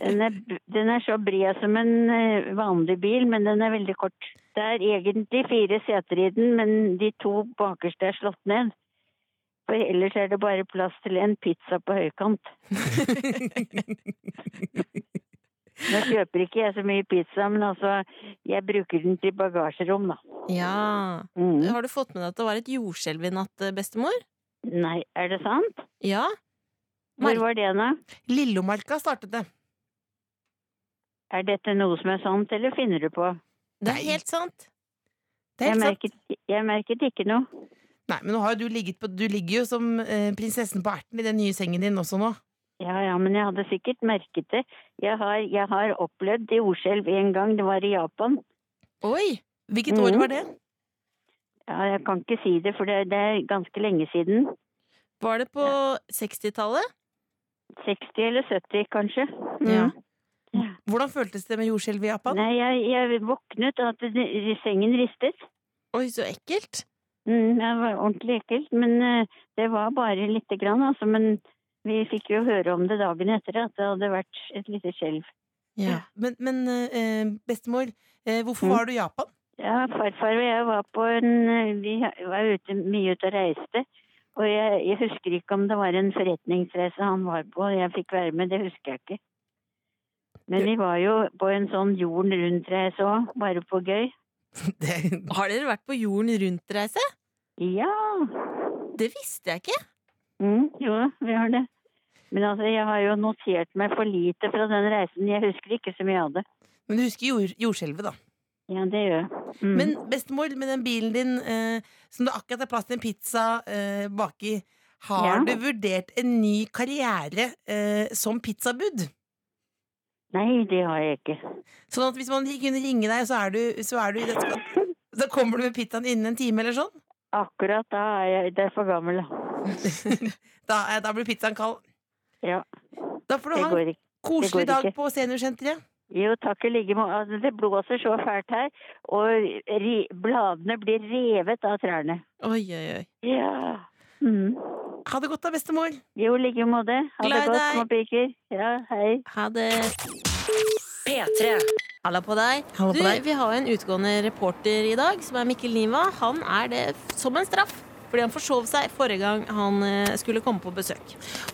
[SPEAKER 9] Den er, den er så bred som en eh, vanlig bil, men den er veldig kort. Det er egentlig fire seter i den, men de to bakerste er slått ned. For ellers er det bare plass til en pizza på høykant. Nå kjøper ikke jeg så mye pizza, men altså, jeg bruker den til bagasjerom, da.
[SPEAKER 2] Ja.
[SPEAKER 9] Mm.
[SPEAKER 2] Har du fått med deg at det var et jordskjelv i natt, eh, bestemor?
[SPEAKER 9] Nei, er det sant?
[SPEAKER 2] Ja. Mar-
[SPEAKER 9] Hvor var det, da?
[SPEAKER 3] Lillomarka startet det.
[SPEAKER 9] Er dette noe som er sant, eller finner du på?
[SPEAKER 2] Det er
[SPEAKER 3] Nei.
[SPEAKER 2] helt sant.
[SPEAKER 3] Det er
[SPEAKER 9] Jeg
[SPEAKER 3] helt sant.
[SPEAKER 9] merket, jeg merket ikke noe.
[SPEAKER 3] Nei, men nå har jo du ligget på Du ligger jo som eh, prinsessen på erten i den nye sengen din også nå.
[SPEAKER 9] Ja, ja, men jeg hadde sikkert merket det. Jeg har, jeg har opplevd jordskjelv en gang, det var i Japan.
[SPEAKER 3] Oi! Hvilket
[SPEAKER 2] Mm.
[SPEAKER 9] Mhm.
[SPEAKER 3] år var det?
[SPEAKER 9] Ja, jeg kan ikke si det, for det, det er ganske lenge siden.
[SPEAKER 2] Var det på 60-tallet?
[SPEAKER 9] 60 eller 70, kanskje. Mm.
[SPEAKER 2] Ja.
[SPEAKER 3] Hvordan føltes det med jordskjelv i Japan?
[SPEAKER 9] Nei, jeg, jeg våknet av at det- sengen ristet.
[SPEAKER 2] Oi, så ekkelt.
[SPEAKER 9] Mm, det var ordentlig ekkelt, men eh, det var bare lite grann, altså. Men vi fikk jo høre om det dagen etter, at det hadde vært et lite skjelv.
[SPEAKER 2] Ja.
[SPEAKER 3] Men, men eh, bestemor, eh, hvorfor
[SPEAKER 9] Mm.
[SPEAKER 3] var du i Japan?
[SPEAKER 9] Ja, farfar og jeg var på en eh, Vi var ute, mye ute og reiste. Og jeg, jeg husker ikke om det var en forretningsreise han var på, og jeg fikk være med, det husker jeg ikke. Men vi var jo på en sånn jorden rundt-reise òg, bare på gøy.
[SPEAKER 3] Det,
[SPEAKER 2] Har dere vært på jorden rundt-reise?
[SPEAKER 9] Ja!
[SPEAKER 2] Det visste jeg ikke.
[SPEAKER 9] Mm, jo, vi har det. Men altså, jeg har jo notert meg for lite fra den reisen, jeg husker ikke så mye av det.
[SPEAKER 3] men du husker jord, jordskjelvet, da.
[SPEAKER 9] Ja, det gjør jeg. Mm.
[SPEAKER 3] Men bestemor, med den bilen din eh, som du akkurat har plass til en pizza eh, baki, har
[SPEAKER 9] Ja.
[SPEAKER 3] du vurdert en ny karriere eh, som pizzabud?
[SPEAKER 9] Nei, det har jeg ikke.
[SPEAKER 3] Sånn at hvis man kunne ringe deg, så er du, så er du i dette Da kommer du med pizzaen innen en time eller sånn?
[SPEAKER 9] Akkurat da er jeg det er for gammel.
[SPEAKER 3] Da, er- da blir pizzaen kald.
[SPEAKER 9] Ja,
[SPEAKER 3] Da får du
[SPEAKER 9] det
[SPEAKER 3] ha en
[SPEAKER 9] går ikke.
[SPEAKER 3] koselig
[SPEAKER 9] det går
[SPEAKER 3] dag
[SPEAKER 9] ikke.
[SPEAKER 3] på seniorsenteret.
[SPEAKER 9] Jo, takk i like måte. Altså, Det blåser så fælt her, og ri bladene blir revet av trærne.
[SPEAKER 2] Oi, oi, oi.
[SPEAKER 9] Ja. Mm.
[SPEAKER 3] Ha det godt da, bestemor.
[SPEAKER 9] Jo, i like måte. Ha det
[SPEAKER 2] Glad i
[SPEAKER 9] godt,
[SPEAKER 2] deg.
[SPEAKER 9] små piker. Ja, hei.
[SPEAKER 2] Ha det.
[SPEAKER 4] P3.
[SPEAKER 2] Halla på deg.
[SPEAKER 3] Halla på
[SPEAKER 2] du,
[SPEAKER 3] deg.
[SPEAKER 2] Vi har jo en utgående reporter i dag, som er Mikkel Niva. Han er det f- som en straff. Fordi han forsov seg forrige gang han eh, skulle komme på besøk.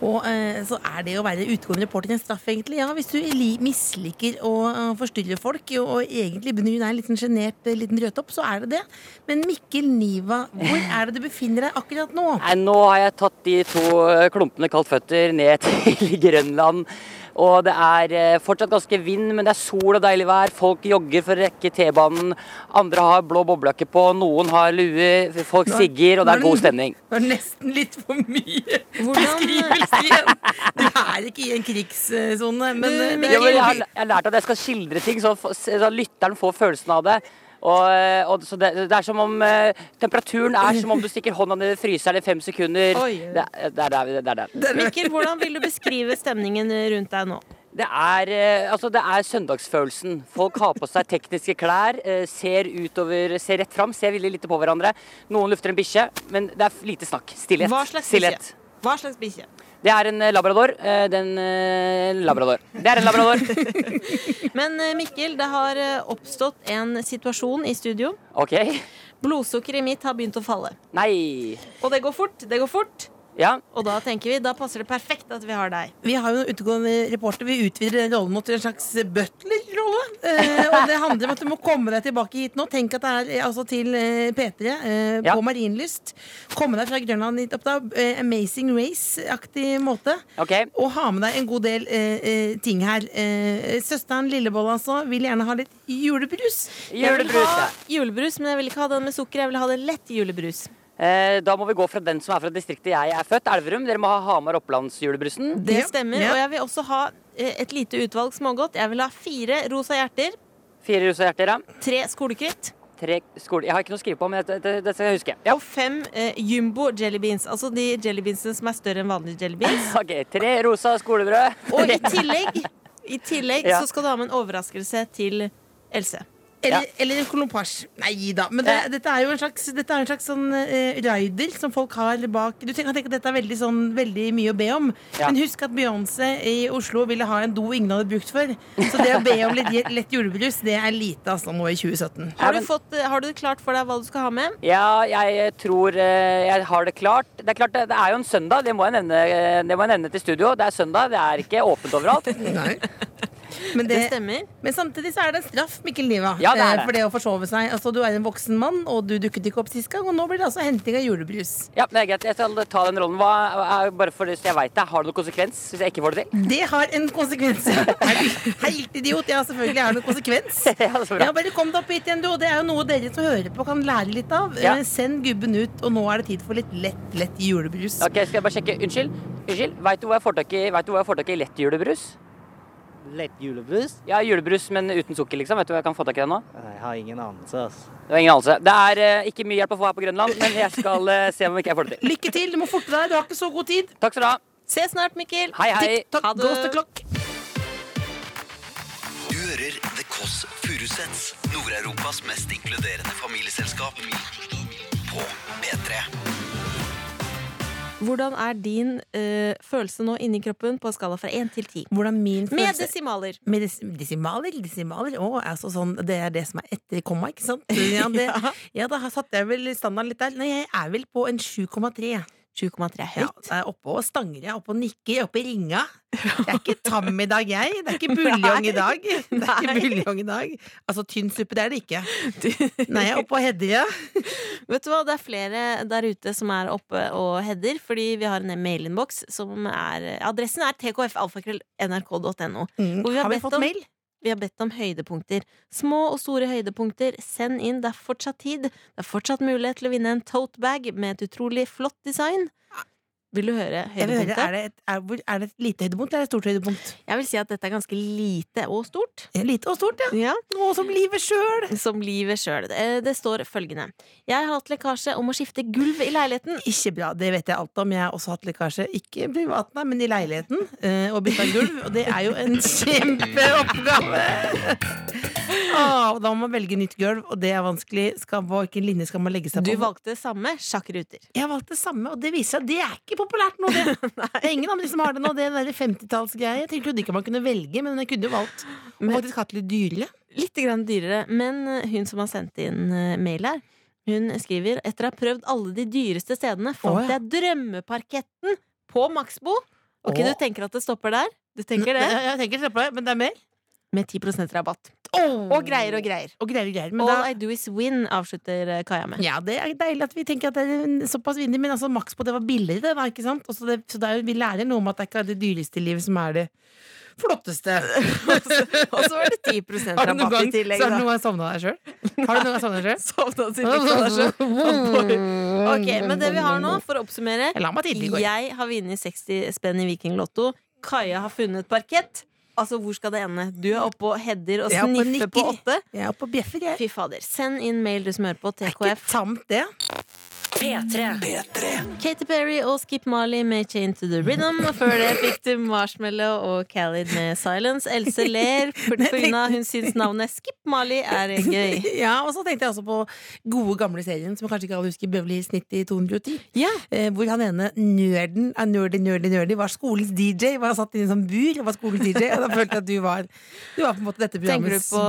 [SPEAKER 3] Og eh, så er det å være utegående reporter en straff, egentlig. Ja, hvis du li- misliker å eh, forstyrre folk, og, og egentlig i bunn og grunn er en liten sjenert eh, liten rødtopp, så er det det. Men Mikkel Niva, hvor er det du befinner deg akkurat nå?
[SPEAKER 5] Nei, nå har jeg tatt de to eh, klumpene kaldt føtter ned til Grønland. Og det er eh, fortsatt ganske vind, men det er sol og deilig vær. Folk jogger for å rekke T-banen. Andre har blå boblejakke på, noen har lue, folk sigger, og det er god stemning.
[SPEAKER 3] Det var nesten litt for mye
[SPEAKER 2] Hvordan- eh,
[SPEAKER 3] beskrivelse igjen. Du er ikke i en krigssone, men eh, det
[SPEAKER 5] Ja, men
[SPEAKER 3] er
[SPEAKER 5] jeg,
[SPEAKER 3] ikke-
[SPEAKER 5] har, jeg har lært at jeg skal skildre ting, så, f- så lytteren får følelsen av det. Og, eh, og så det, det er som om eh, Temperaturen er som om du stikker hånda ned i fryseren i fem sekunder.
[SPEAKER 3] Oi.
[SPEAKER 5] Det, er- det er der. vi- Det er der.
[SPEAKER 2] Mikkel, hvordan vil du beskrive stemningen rundt deg nå?
[SPEAKER 5] Det er, eh, altså det er søndagsfølelsen. Folk har på seg tekniske klær, eh, ser utover, ser rett fram, ser veldig lite på hverandre. Noen lufter en bikkje, men det er lite snakk. Stillhet.
[SPEAKER 2] Hva slags
[SPEAKER 5] Stillhet.
[SPEAKER 2] bikkje? Hva slags bikkje?
[SPEAKER 5] Det er en eh, labrador. eh, Den eh, labrador. Det er en labrador.
[SPEAKER 2] Men eh, Mikkel, det har eh, oppstått en situasjon i studio.
[SPEAKER 5] OK.
[SPEAKER 2] Blodsukkeret mitt har begynt å falle.
[SPEAKER 5] Nei.
[SPEAKER 2] Og det går fort, det går fort.
[SPEAKER 5] Ja.
[SPEAKER 2] Og da tenker vi, da passer det perfekt at vi har deg.
[SPEAKER 3] Vi har jo en utegående reporter. Vi utvider den rollen mot en slags butler-rolle. Eh, og det handler om at du må komme deg tilbake hit nå. Tenk at det er eh, altså, til eh, P3 eh,
[SPEAKER 5] Ja.
[SPEAKER 3] på Marienlyst. Komme deg fra Grønland hit opp da. Eh, amazing Race-aktig måte.
[SPEAKER 5] OK.
[SPEAKER 3] Og ha med deg en god del eh, eh, ting her. Eh, søsteren Lillebolle altså vil gjerne ha litt julebrus.
[SPEAKER 2] Jeg vil
[SPEAKER 5] Julebrus.
[SPEAKER 2] ha
[SPEAKER 5] ja.
[SPEAKER 2] julebrus, men jeg vil ikke ha den med sukker. Jeg vil ha det lett julebrus.
[SPEAKER 5] Eh, Da må vi gå fra den som er fra distriktet jeg er født, Elverum. Dere må ha Hamar-Opplandsjulebrusen.
[SPEAKER 2] Det
[SPEAKER 3] Ja,
[SPEAKER 2] stemmer.
[SPEAKER 3] ja.
[SPEAKER 2] Og jeg vil også ha eh, et lite utvalg smågodt. Jeg vil ha fire rosa hjerter,
[SPEAKER 5] Fire rosa hjerter, ja.
[SPEAKER 2] tre skolekritt
[SPEAKER 5] Tre skole... Jeg har ikke noe å skrive på, men det, det, det skal jeg huske. Ja.
[SPEAKER 2] og fem eh, jumbo jellybeans. Altså de jellybeansene som er større enn vanlige jellybeans.
[SPEAKER 5] OK. Tre rosa skolebrød.
[SPEAKER 2] Og i tillegg, i tillegg
[SPEAKER 5] Ja.
[SPEAKER 2] så skal du ha med en overraskelse til Else.
[SPEAKER 3] Eller,
[SPEAKER 5] Ja.
[SPEAKER 3] eller en kolompasj. Nei da. Men det, dette er jo en slags, dette er en slags sånn eh, rider som folk har bak Du tenker, tenker at dette er veldig, sånn, veldig mye å be om.
[SPEAKER 5] Ja.
[SPEAKER 3] Men husk at Beyoncé i Oslo ville ha en do ingen hadde brukt før. Så det å be om litt je- lett julebrus, det er lite altså nå i 2017.
[SPEAKER 2] Har
[SPEAKER 5] Ja,
[SPEAKER 2] du,
[SPEAKER 5] men-
[SPEAKER 2] fått, eh, har du klart for deg hva du skal ha med?
[SPEAKER 5] Ja, jeg tror eh, jeg har det klart. Det er klart, det det er jo en søndag, det må jeg nevne, eh, det må jeg nevne til studio. Det er søndag, det er ikke åpent overalt.
[SPEAKER 3] Nei. Men,
[SPEAKER 2] Det
[SPEAKER 3] det,
[SPEAKER 2] stemmer.
[SPEAKER 3] men samtidig så er det en straff, Mikkel Niva,
[SPEAKER 5] Ja, det er
[SPEAKER 3] eh, for det å forsove seg. Altså, du er en voksen mann, og du dukket ikke opp sist gang, og nå blir det altså henting av julebrus.
[SPEAKER 5] Ja, men det er greit, jeg skal ta den rollen. Hva, er- bare for det, så jeg vet det, har det noen konsekvens hvis jeg ikke får det til?
[SPEAKER 3] Det har en konsekvens. Er du Helt idiot. Ja, selvfølgelig har det en konsekvens.
[SPEAKER 5] Ja, så bra.
[SPEAKER 3] Ja, bare kom deg opp hit igjen, du. Og det er jo noe dere som hører på, kan lære litt av.
[SPEAKER 5] Ja.
[SPEAKER 3] Eh, Send gubben ut, og nå er det tid for litt lett, lett julebrus.
[SPEAKER 5] Ok, skal jeg bare sjekke. Unnskyld, unnskyld. Vet du hvor jeg får tak i, vet du hvor jeg får tak i lett julebrus?
[SPEAKER 7] Lett julebrus?
[SPEAKER 5] Ja, julebrus, men uten sukker, liksom. Vet du hvor jeg kan få tak i det nå?
[SPEAKER 7] Jeg har ingen anelse, altså.
[SPEAKER 5] Det var ingen anelse. Det er eh, ikke mye hjelp å få her på Grønland, men jeg skal eh, se om ikke jeg får det til.
[SPEAKER 3] Lykke til, du må forte deg. Du har ikke så god tid.
[SPEAKER 5] Takk skal du ha.
[SPEAKER 2] Se snart, Mikkel.
[SPEAKER 5] Hei, hei.
[SPEAKER 2] Ha det.
[SPEAKER 3] Ghost the clock.
[SPEAKER 1] Du hører The Kåss Furuseths, Nord-Europas mest inkluderende familieselskap. På P3.
[SPEAKER 2] Hvordan er din eh, følelse nå inni kroppen på en skala fra 1 til 10?
[SPEAKER 3] Hvordan min
[SPEAKER 2] Med
[SPEAKER 3] følelse
[SPEAKER 2] desimaler.
[SPEAKER 3] med des desimaler, desimaler Å, altså sånn, det er det som er etter komma, ikke sant? Ja, det, ja da satte jeg vel standarden litt der. Nei, jeg er vel på en 7,3.
[SPEAKER 2] 7,3 er
[SPEAKER 3] Ja,
[SPEAKER 2] høyt.
[SPEAKER 3] jeg er oppe og stanger, jeg er oppe og nikker, jeg er oppe i ringa. Jeg er ikke tam i dag, jeg. Det er ikke buljong i dag. Det er
[SPEAKER 2] Nei.
[SPEAKER 3] ikke buljong i dag. Altså, tynn suppe, det er det ikke. Nei, jeg er oppe og hedder, ja.
[SPEAKER 2] Vet du hva, Det er flere der ute som er oppe og header, fordi vi har en mailinnboks som er Adressen er tkfalfakrøll.nrk.no. Hvor vi har
[SPEAKER 3] Mm. Har vi
[SPEAKER 2] bedt
[SPEAKER 3] fått
[SPEAKER 2] om-
[SPEAKER 3] mail?
[SPEAKER 2] Vi har bedt om høydepunkter. Små og store høydepunkter. Send inn. Det er fortsatt tid. Det er fortsatt mulighet til å vinne en totebag med et utrolig flott design. Vil du høre
[SPEAKER 3] Jeg vil høre,
[SPEAKER 2] høydepunktet?
[SPEAKER 3] er det, et, er, hvor- er det et lite høydepunkt eller et stort høydepunkt?
[SPEAKER 2] Jeg vil si at dette er ganske lite og stort.
[SPEAKER 3] Lite og stort, ja.
[SPEAKER 2] Ja.
[SPEAKER 3] Noe som livet sjøl.
[SPEAKER 2] Som livet sjøl. Eh, Det står følgende. Jeg har hatt lekkasje om å skifte gulv i leiligheten.
[SPEAKER 3] Ikke bra, det vet jeg alt om. Jeg har også hatt lekkasje, ikke privat, nei, men i leiligheten. eh, Og bytta gulv. Og det er jo en kjempeoppgave! Ah, og da må man velge nytt gulv, og det er vanskelig. Skal, hvilken linje skal man legge seg på?
[SPEAKER 2] Du valgte samme sjakkruter.
[SPEAKER 3] Jeg har valgt det samme, og det viser seg at det er ikke på populært nå, det! Det er ingen andre som har det nå, det derre 50-tallsgreia. Jeg tenkte jo ikke man kunne velge, men jeg kunne jo valgt å
[SPEAKER 2] Men-
[SPEAKER 3] faktisk hatt litt dyrere.
[SPEAKER 2] Litt grann dyrere, men eh, hun som har sendt inn eh, mail her, hun skriver etter å ha prøvd alle de dyreste stedene, fant
[SPEAKER 3] Å, ja.
[SPEAKER 2] jeg drømmeparketten på Maxbo. Ok,
[SPEAKER 3] Å.
[SPEAKER 2] du tenker at det stopper der? Du tenker det?
[SPEAKER 3] Jeg, jeg tenker se på det, men det er mer.
[SPEAKER 2] Med 10 rabatt. Og greier og greier.
[SPEAKER 3] Og greier og greier. Mm. Men
[SPEAKER 2] All
[SPEAKER 3] da,
[SPEAKER 2] I do is win, avslutter eh, Kaja med.
[SPEAKER 3] ja, det er deilig at vi tenker at det er en- såpass vinner, men altså maks på det var billigere, det da, ikke sant? Og så det, så det er, jo- vi lærer noe om at det er ikke det dyreste i livet som er det flotteste.
[SPEAKER 2] Og så var det 10
[SPEAKER 3] Har du noen
[SPEAKER 2] rabatt
[SPEAKER 3] gang,
[SPEAKER 2] i tillegg,
[SPEAKER 3] så har du
[SPEAKER 2] da.
[SPEAKER 3] noen gang savna deg sjøl? Har du noen gang savna deg sjøl?
[SPEAKER 2] Sovna sikkert på deg selv. Ok, men det vi har nå, for å oppsummere
[SPEAKER 3] Jeg la meg tidlig i går.
[SPEAKER 2] Jeg har vunnet 60 spenn i Vikinglotto. Kaja har funnet parkett. Altså, hvor skal det ende? Du er oppe og header og
[SPEAKER 3] Jeg er oppe og
[SPEAKER 2] sniffer på
[SPEAKER 3] nikker.
[SPEAKER 2] åtte.
[SPEAKER 3] Jeg er oppe og bjeffer, jeg.
[SPEAKER 2] Fy fader. Send inn mail, du som hører på. TKF.
[SPEAKER 3] Samt det.
[SPEAKER 4] P3.
[SPEAKER 2] Katy Perry og Skip Marley med Chain to the Rhythm. Og før det fikk du Marshmallow og Khalid med Silence. Else ler pga. hun syns navnet Skip Marley er gøy.
[SPEAKER 3] Ja, og så tenkte jeg også på gode gamle serien som kanskje ikke alle husker, Beverly Hills 90 210.
[SPEAKER 2] Ja.
[SPEAKER 3] Eh, hvor han ene nerden av nerdy, nerdy, nerdy var skolens DJ. Var satt i en sånn bur og var skolens DJ. Og da følte jeg at du var Du var på en måte dette
[SPEAKER 2] Tenker du
[SPEAKER 3] programmets
[SPEAKER 2] på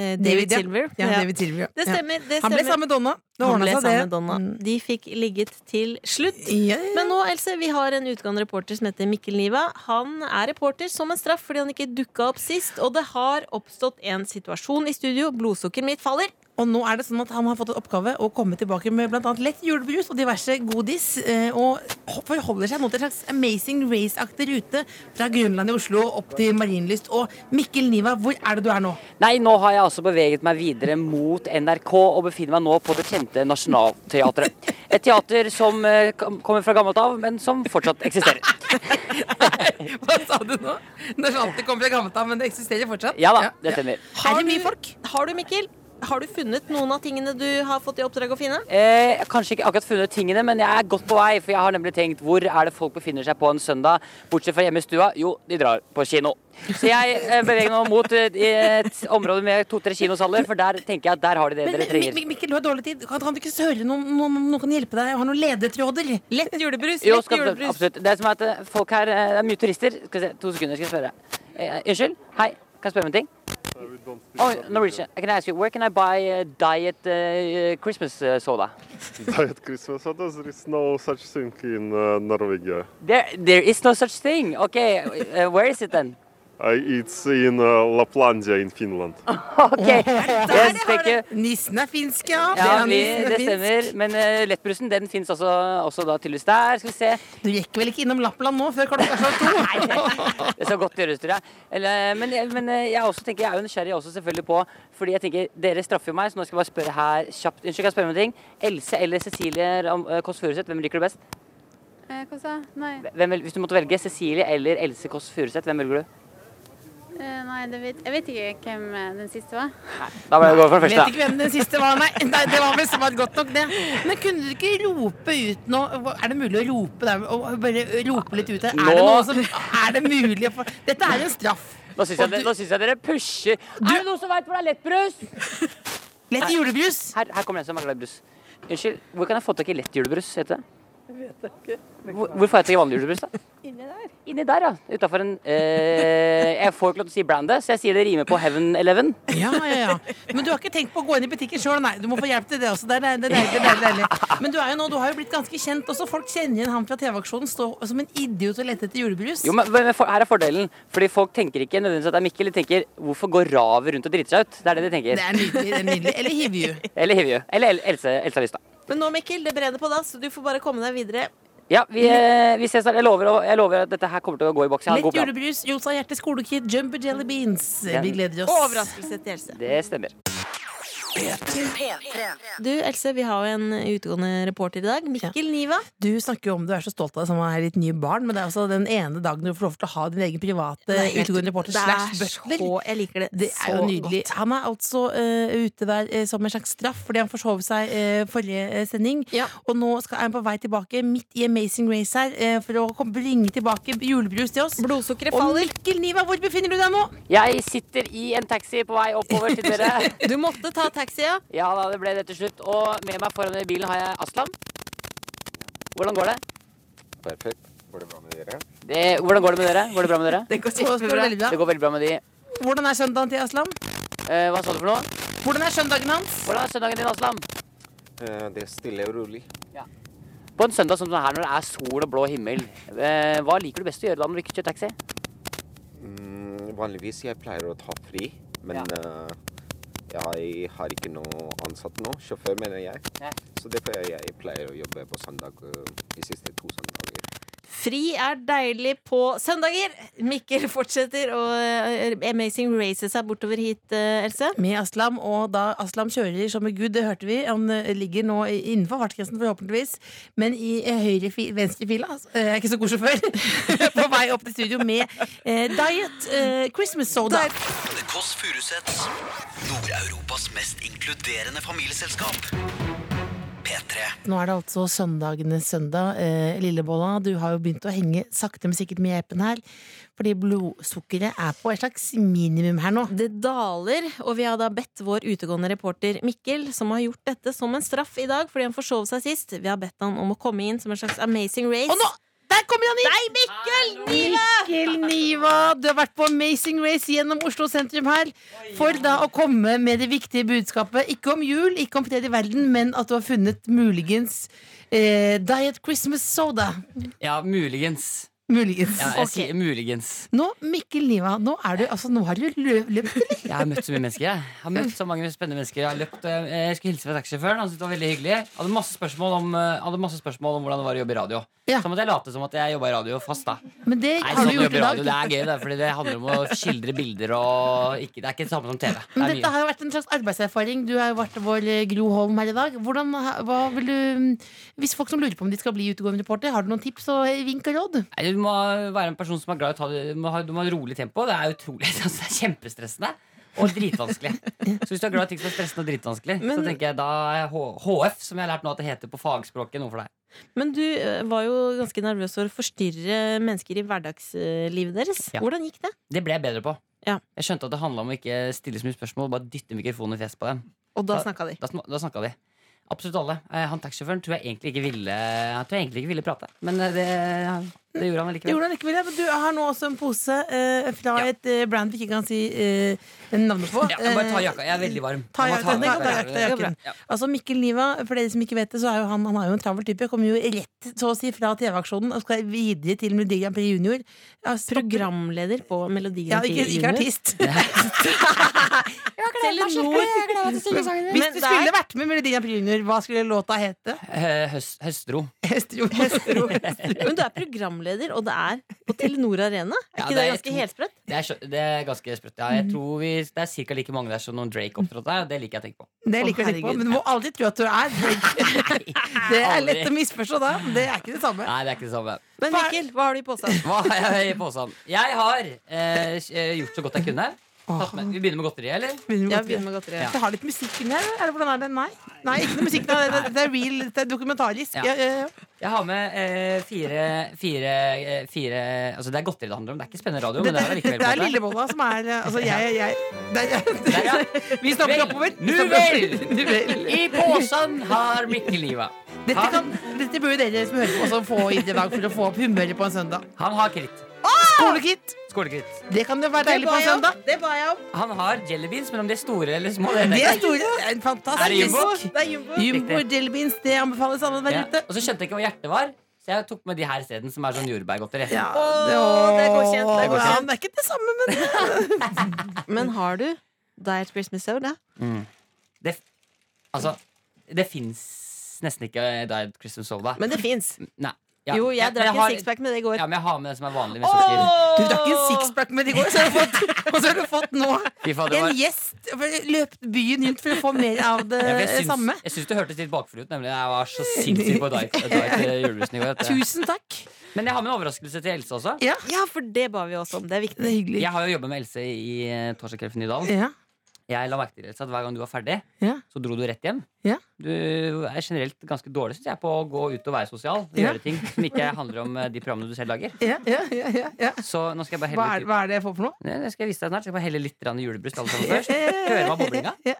[SPEAKER 2] eh, David
[SPEAKER 3] ja.
[SPEAKER 2] Silver?
[SPEAKER 3] Ja, David Silver ja.
[SPEAKER 2] Det
[SPEAKER 3] Ja.
[SPEAKER 2] stemmer. det
[SPEAKER 3] Han ble
[SPEAKER 2] stemmer.
[SPEAKER 3] sammen med Donna. Det
[SPEAKER 2] Han
[SPEAKER 3] ordnet
[SPEAKER 2] ble
[SPEAKER 3] seg,
[SPEAKER 2] sammen
[SPEAKER 3] det.
[SPEAKER 2] med Donna.
[SPEAKER 3] Mm.
[SPEAKER 2] De fikk ligget til slutt.
[SPEAKER 3] Ja, ja, ja.
[SPEAKER 2] Men nå, Else, vi har en utgående reporter som heter Mikkel Niva. Han er reporter som en straff fordi han ikke dukka opp sist. Og det har oppstått en situasjon i studio. Blodsukkeret mitt faller.
[SPEAKER 3] Og nå er det sånn at han har fått en oppgave å komme tilbake med bl.a. lett julebrus og diverse godis. eh, Og forholder seg nå til en slags Amazing Race-aktig rute fra Grønland i Oslo opp til Marienlyst. Og Mikkel Niva, hvor er det du er nå?
[SPEAKER 5] Nei, nå har jeg altså beveget meg videre mot NRK og befinner meg nå på det kjente Nationaltheatret. Et teater som eh, kom- kommer fra gammelt av, men som fortsatt eksisterer.
[SPEAKER 3] Hva sa du nå? Nasjonalt kommer fra gammelt av, men det eksisterer fortsatt?
[SPEAKER 5] Ja da, det stemmer.
[SPEAKER 3] Er det mye
[SPEAKER 2] du-
[SPEAKER 3] folk?
[SPEAKER 2] Har du, Mikkel? Har du funnet noen av tingene du har fått i oppdrag å finne?
[SPEAKER 5] Eh, jeg har kanskje ikke akkurat funnet tingene, men jeg er godt på vei. For jeg har nemlig tenkt hvor er det folk befinner seg på en søndag, bortsett fra hjemme i stua? Jo, de drar på kino. Så jeg eh, beveger meg nå mot eh, et område med to-tre kinosaler, for der tenker jeg at der har de det
[SPEAKER 3] Men,
[SPEAKER 5] dere
[SPEAKER 3] Mi-
[SPEAKER 5] trenger.
[SPEAKER 3] Mi- Mikkel, du har dårlig tid. Kan, kan du ikke høre noen, noen, noen kan hjelpe deg? Jeg har noen ledetråder.
[SPEAKER 2] Lett julebrus.
[SPEAKER 5] Jo,
[SPEAKER 2] lett
[SPEAKER 5] skal,
[SPEAKER 2] julebrus.
[SPEAKER 5] absolutt. Det som er at eh, folk her eh, Det er mye turister. Skal vi se, to sekunder, skal jeg spørre. Eh, unnskyld? Hei, kan jeg spørre om en ting? Oh, Norwegian. Can I ask you, where can I buy eh, diet eh, Christmas eh, soda?
[SPEAKER 10] Diet Christmas soda, there is no such thing in uh, Norwegia.
[SPEAKER 5] There, there is no such thing. Okay, eh, where is it then?
[SPEAKER 10] I, it's in uh, Laplandia in Finland.
[SPEAKER 5] Okay. Yes, thank you.
[SPEAKER 3] Nissen er finsk, ja.
[SPEAKER 5] Ja,
[SPEAKER 3] er
[SPEAKER 5] vi,
[SPEAKER 3] nissen er
[SPEAKER 5] det
[SPEAKER 3] finsk.
[SPEAKER 5] stemmer. Men eh, lettbrusen den finnes også, også da tydeligvis der. Skal vi se.
[SPEAKER 3] Du rekker vel ikke innom Lappland nå før klokka er slått to?
[SPEAKER 5] Det skal godt gjøres, tror jeg. Eller, men jeg- men eh, jeg, også tenker, jeg er jo nysgjerrig også selvfølgelig på Fordi jeg tenker, dere straffer jo meg, så nå skal jeg bare spørre her kjapt. Unnskyld, kan jeg spørre om en ting? Else eller Cecilie Ram- eh, Kåss Furuseth, hvem liker du best?
[SPEAKER 8] Eh, hva sa jeg? Nei.
[SPEAKER 5] Hvem, vil- hvis du måtte velge Cecilie eller Else Kåss Furuseth, hvem velger du?
[SPEAKER 8] Eh, nei, det vet, jeg vet ikke hvem eh, den siste var.
[SPEAKER 5] Da må jeg gå for den
[SPEAKER 3] Vet
[SPEAKER 5] første.
[SPEAKER 3] ikke hvem den siste var, nei. nei det var vel smart godt nok, det. Men kunne du ikke rope ut nå hva- Er det mulig å rope der? og Bare rope litt ut her. Er det
[SPEAKER 5] Nå-
[SPEAKER 3] noe som Er det mulig å få Dette er jo en straff.
[SPEAKER 5] Nå syns jeg, dere- nå synes jeg dere pusher. Er det noen som veit hvor det er lettbrus?
[SPEAKER 3] Lett julebrus.
[SPEAKER 5] Her, her kommer en som er glad i brus. Unnskyld, hvor kan jeg få tak i lettjulebrus? heter det? Hvor, hvor får jeg tak i vanlig julebrus, da? Inni der, ja. Utafor en eh, Jeg får ikke lov til å si brandet, så jeg sier det rimer på Heaven Eleven.
[SPEAKER 3] Ja, ja, ja. Men du har ikke tenkt på å gå inn i butikken sjøl, nei. Du må få hjelp til det også. Det er deilig. det er deilig, det er deilig. Men du, er jo nå, du har jo blitt ganske kjent også. Folk kjenner igjen han fra TV-aksjonen stå som en idiot og lette etter julebrus.
[SPEAKER 5] Jo, men, men for, Her er fordelen. Fordi folk tenker ikke nødvendigvis at det er Mikkel. De tenker 'hvorfor går ravet rundt og driter seg ut'? Det er det de
[SPEAKER 3] Det
[SPEAKER 5] tenker.
[SPEAKER 3] er nydelig. det er nydelig. Eller Hivju.
[SPEAKER 5] Eller Hivju. Eller El Else, Elsa Lystad.
[SPEAKER 2] Men nå, Mikkel, det brenner på dass, så du får bare komme deg videre.
[SPEAKER 5] Ja, vi, eh, vi ses snart. Jeg lover, å- jeg lover at dette her kommer til å gå i boks. Jeg har en god
[SPEAKER 3] Lett
[SPEAKER 5] plan.
[SPEAKER 3] julebrus, Josa Hjerte skolekid, Jumbo Jelly Beans. Vi gleder
[SPEAKER 2] Og
[SPEAKER 3] oss.
[SPEAKER 2] overraskelse til Else.
[SPEAKER 5] Det stemmer.
[SPEAKER 2] Du, Else, vi har jo en utgående reporter i dag. Mikkel Niva.
[SPEAKER 3] Du snakker jo om du er så stolt av deg som er ditt nye barn, men det er også den ene dagen du får lov til å ha din egen private
[SPEAKER 2] eh,
[SPEAKER 3] utegående reporter
[SPEAKER 2] Det
[SPEAKER 3] slash
[SPEAKER 2] er
[SPEAKER 3] butler.
[SPEAKER 2] så Jeg liker det,
[SPEAKER 3] Det er jo
[SPEAKER 2] så
[SPEAKER 3] nydelig.
[SPEAKER 2] godt.
[SPEAKER 3] Han er altså eh, ute der eh, som en slags straff fordi han forsov seg eh, forrige eh, sending.
[SPEAKER 2] Ja.
[SPEAKER 3] Og nå skal, er han på vei tilbake midt i Amazing Race her eh, for å kom- bringe tilbake julebrus til oss.
[SPEAKER 2] Blodsukkeret
[SPEAKER 3] Og
[SPEAKER 2] faller.
[SPEAKER 3] Mikkel Niva, hvor befinner du deg nå?
[SPEAKER 5] Jeg sitter i en taxi på vei oppover til dere.
[SPEAKER 2] Du måtte ta taxia.
[SPEAKER 5] Ja da, det ble det til slutt. Og med meg foran i bilen har jeg Aslan. Hvordan går det?
[SPEAKER 1] Perfekt. Går det bra med dere?
[SPEAKER 11] Det, hvordan går det med dere? Går det bra med dere?
[SPEAKER 3] Det går kjempebra. veldig bra.
[SPEAKER 11] Det går veldig bra med de.
[SPEAKER 3] Hvordan er søndagen til Aslam?
[SPEAKER 11] Eh, hva sa du for noe?
[SPEAKER 3] Hvordan er søndagen hans?
[SPEAKER 11] Hvordan er søndagen din, Aslam?
[SPEAKER 1] Eh, det er stille og rolig.
[SPEAKER 11] På en søndag som denne her, når det er sol og blå himmel, eh, hva liker du best å gjøre da når du ikke kjører taxi?
[SPEAKER 1] Mm, vanligvis jeg pleier å ta fri, men eh, jeg har ikke noe ansatt nå. Sjåfør, mener jeg.
[SPEAKER 11] Nei.
[SPEAKER 1] Så derfor jeg, jeg pleier å jobbe på søndag eh, de siste to søndager.
[SPEAKER 2] Fri er deilig på søndager. Mikkel fortsetter, og eh, Amazing Races er bortover hit, eh, Else.
[SPEAKER 3] Med Aslam, og da Aslam kjører som en gud, det hørte vi. Han eh, ligger nå i- innenfor fartsgrensen, forhåpentligvis. Men i eh, høyre fi, venstre fila altså, eh, Jeg er ikke så god sjåfør. På vei opp til studio med eh, Diet eh, Christmas Soda.
[SPEAKER 12] The Kåss Furuseths. Nord-Europas mest inkluderende familieselskap. P3.
[SPEAKER 3] Nå er det altså søndagenes søndag. Eh, Lillebolla, du har jo begynt å henge sakte, men sikkert med apen her. Fordi blodsukkeret er på et slags minimum her nå.
[SPEAKER 2] Det daler, og vi har da bedt vår utegående reporter Mikkel, som har gjort dette som en straff i dag fordi han forsov seg sist, vi har bedt han om å komme inn som en slags Amazing Race. Og nå!
[SPEAKER 3] Der kommer han inn!
[SPEAKER 2] Nei, Mikkel! Niva!
[SPEAKER 3] Mikkel Niva, du har vært på Amazing Race gjennom Oslo sentrum her for da å komme med det viktige budskapet. Ikke om jul, ikke om fred i verden, men at du har funnet muligens eh, Diet Christmas Soda.
[SPEAKER 5] Ja, muligens.
[SPEAKER 3] Muligens.
[SPEAKER 5] Ja, jeg sier muligens.
[SPEAKER 3] Nå, Mikkel Niva, nå, er du, altså, nå har du lø- løpt, eller?
[SPEAKER 5] Jeg har møtt så mye mennesker. Jeg Jeg har møtt så mange spennende mennesker. Jeg, har løpt, og jeg, jeg skulle hilse fra taxisjåføren. Han syntes det var veldig hyggelig. Jeg hadde masse spørsmål om, eh, hadde masse spørsmål om hvordan det var å jobbe i radio. Så måtte jeg late som at jeg jobba i radio fast, da.
[SPEAKER 3] Men det
[SPEAKER 5] Nei,
[SPEAKER 3] har
[SPEAKER 5] sånn å
[SPEAKER 3] du
[SPEAKER 5] jobbe
[SPEAKER 3] gjort
[SPEAKER 5] i
[SPEAKER 3] i dag.
[SPEAKER 5] radio, det er gøy, det, fordi det handler om å skildre bilder og ikke, Det er ikke det samme som TV. Det
[SPEAKER 3] Men
[SPEAKER 5] er
[SPEAKER 3] dette
[SPEAKER 5] mye.
[SPEAKER 3] har jo vært en slags arbeidserfaring. Du har jo vært vår eh, Gro Holm her i dag. Hvordan, hva vil du, mm, hvis folk som lurer på om de skal bli utegående reporter, har du noen tips og eh, vink og råd?
[SPEAKER 5] Nei, Du må være en person som er glad i å ta det Du må ha, du må ha rolig tempo. Det er utrolig altså, Det er kjempestressende. Og dritvanskelig. Så hvis du er glad i ting som er stressende og dritvanskelig, så tenker jeg da er H HF, som jeg har lært nå at det heter på fagspråket, noe for deg.
[SPEAKER 2] Men du eh, var jo ganske nervøs for å forstyrre mennesker i hverdagslivet deres.
[SPEAKER 5] Ja.
[SPEAKER 2] Hvordan gikk det?
[SPEAKER 5] Det ble jeg bedre på.
[SPEAKER 2] Ja.
[SPEAKER 5] Jeg skjønte at det handla om å ikke stille så mye spørsmål, bare dytte mikrofonen i fjes på dem.
[SPEAKER 2] Og da snakka de.
[SPEAKER 5] Da, sn- da snakka de. Absolutt alle. Eh, Han taxisjåføren tror jeg egentlig ikke ville Han tror jeg egentlig ikke ville prate, men eh, det, det gjorde han
[SPEAKER 3] Det
[SPEAKER 5] allikevel.
[SPEAKER 3] gjorde han likevel, ja. Men du har nå også en pose eh, fra et eh, brand vi ikke kan si eh, navnet på.
[SPEAKER 5] Ja, jeg bare ta jakka. Jeg er veldig varm.
[SPEAKER 3] Ta
[SPEAKER 5] Jeg må ta
[SPEAKER 3] jakka,
[SPEAKER 5] den.
[SPEAKER 3] den kan ta jakka,
[SPEAKER 5] Det går bra.
[SPEAKER 3] jakken. Altså Mikkel Niva, for dere som ikke vet det, så er jo han, han er jo en travel type. Kommer jo rett så å si fra TV-aksjonen og skal videre til Melodi Grand Prix Junior.
[SPEAKER 2] Programleder på Melodi
[SPEAKER 3] Ja,
[SPEAKER 2] Grand Prix
[SPEAKER 3] ikke, ikke
[SPEAKER 2] Junior.
[SPEAKER 3] artist.
[SPEAKER 2] Telenor.
[SPEAKER 3] Hvis du skulle vært med i Melodi Grand Prix Junior, hva skulle låta hete?
[SPEAKER 5] Eh, Høst, høstro.
[SPEAKER 2] Men du er programleder, og det er på Telenor Arena? Er
[SPEAKER 5] Ja,
[SPEAKER 2] ikke
[SPEAKER 5] det
[SPEAKER 2] det
[SPEAKER 5] er
[SPEAKER 2] ganske
[SPEAKER 5] to-
[SPEAKER 2] helsprøtt?
[SPEAKER 5] Det er, skjø- det er ganske sprøtt. Ja,
[SPEAKER 3] Mhm.
[SPEAKER 5] jeg tror vi, det er ca. like mange der som noen Drake opptrådte her, og det liker jeg å tenke på.
[SPEAKER 3] Det liker jeg å tenke på, men du må aldri tro at du er Det er lett å misforstå da. Det er ikke det samme.
[SPEAKER 5] Nei, det er ikke det samme.
[SPEAKER 2] Men Mikkel, hva har du i posen?
[SPEAKER 5] Hva har jeg i posen? Jeg har eh, gjort så godt jeg kunne. Tatt med, vi begynner med godteri, eller?
[SPEAKER 3] Ja, begynn med godteri. Det har litt musikk inni her. Eller hvordan er det? Nei, Nei ikke noe musikk. Det er, det er real, det er dokumentarisk.
[SPEAKER 5] Ja.
[SPEAKER 3] Ja, ja, ja.
[SPEAKER 5] Jeg har med eh, fire, fire, eh, fire Altså, det er godteri det handler om. Det er ikke spennende radio,
[SPEAKER 3] Det,
[SPEAKER 5] men det er
[SPEAKER 3] det,
[SPEAKER 5] allikevel
[SPEAKER 3] er Lillebolla som er eh, Altså, jeg, jeg det er, Vi stopper oppover. Vi
[SPEAKER 5] Nu
[SPEAKER 3] stopper
[SPEAKER 5] vel!
[SPEAKER 3] oppover. Nu vel.
[SPEAKER 5] I posen har Mikkel Niva.
[SPEAKER 3] Dette, kan, dette bør jo dere som hører på, også få inn i dag for å få opp humøret på en søndag.
[SPEAKER 5] Han har kritt.
[SPEAKER 3] Skolekitt!
[SPEAKER 5] Skolekritt.
[SPEAKER 3] Det kan jo være deilig på en søndag.
[SPEAKER 2] Det ba jeg om.
[SPEAKER 5] Han har jellybeans, men om de er store eller små det
[SPEAKER 3] Det
[SPEAKER 5] vet
[SPEAKER 3] er
[SPEAKER 5] jeg ikke.
[SPEAKER 3] store. Det
[SPEAKER 5] Er
[SPEAKER 3] er en
[SPEAKER 5] det jumbo?
[SPEAKER 3] fantastisk
[SPEAKER 2] Det er jumbo.
[SPEAKER 3] Jumbo
[SPEAKER 5] Riktig.
[SPEAKER 3] jellybeans. Det anbefales alle der
[SPEAKER 5] Ja.
[SPEAKER 3] ute.
[SPEAKER 5] Og så skjønte jeg ikke hva hjertet var, så jeg tok med de her isteden, som er sånn jordbærgodteri.
[SPEAKER 3] Ja,
[SPEAKER 2] Åh, det er godkjent, det er
[SPEAKER 3] Ja,
[SPEAKER 2] godkjent.
[SPEAKER 3] men det er ikke det samme, men
[SPEAKER 2] Men har du Diet Christmas Soda?
[SPEAKER 5] Mm. Det, f- altså, det fins nesten ikke eh, Diet Christmas Soda.
[SPEAKER 2] Men det fins.
[SPEAKER 5] Nei.
[SPEAKER 2] Jo, jeg
[SPEAKER 5] men
[SPEAKER 2] drakk en
[SPEAKER 5] har-
[SPEAKER 2] sixpack med det i går.
[SPEAKER 5] Ja, men jeg har med den som er vanlig med sukker.
[SPEAKER 3] Du drakk en sixpack med det i går, så har du fått, og så har du fått nå
[SPEAKER 5] Fy faen, det var-
[SPEAKER 3] en gjest. Løpt byen rundt for å få mer av det
[SPEAKER 5] Ja, for jeg syns-
[SPEAKER 3] samme.
[SPEAKER 5] Jeg syns det hørtes litt bakfull ut. Nemlig Jeg var så sinnssyk på diet, diet eh, julebrusen i går. vet du.
[SPEAKER 3] Tusen takk.
[SPEAKER 5] Men jeg har med en overraskelse til Else også.
[SPEAKER 3] Ja.
[SPEAKER 2] for det ba vi også om. Det er viktig.
[SPEAKER 5] Jeg har jo jobbet med Else i eh, Torsdagskvelden i Nydalen.
[SPEAKER 3] Ja.
[SPEAKER 5] Jeg la merke til Else at hver gang du var ferdig,
[SPEAKER 3] Ja.
[SPEAKER 5] så dro du rett hjem.
[SPEAKER 3] Ja.
[SPEAKER 5] Du er generelt ganske dårlig synes jeg, på å gå ut og være sosial. Og
[SPEAKER 3] Ja.
[SPEAKER 5] Gjøre ting som ikke handler om eh, de programmene du selv lager.
[SPEAKER 3] Ja, ja, ja, ja, ja.
[SPEAKER 5] Så nå skal jeg bare
[SPEAKER 3] Hva,
[SPEAKER 5] helle
[SPEAKER 3] er, hva er det jeg får for noe?
[SPEAKER 5] Nei, Det skal jeg vise deg snart. Skal jeg bare helle litt grann i julebrus til alle sammen først. Hører meg boblinga?
[SPEAKER 3] Ja.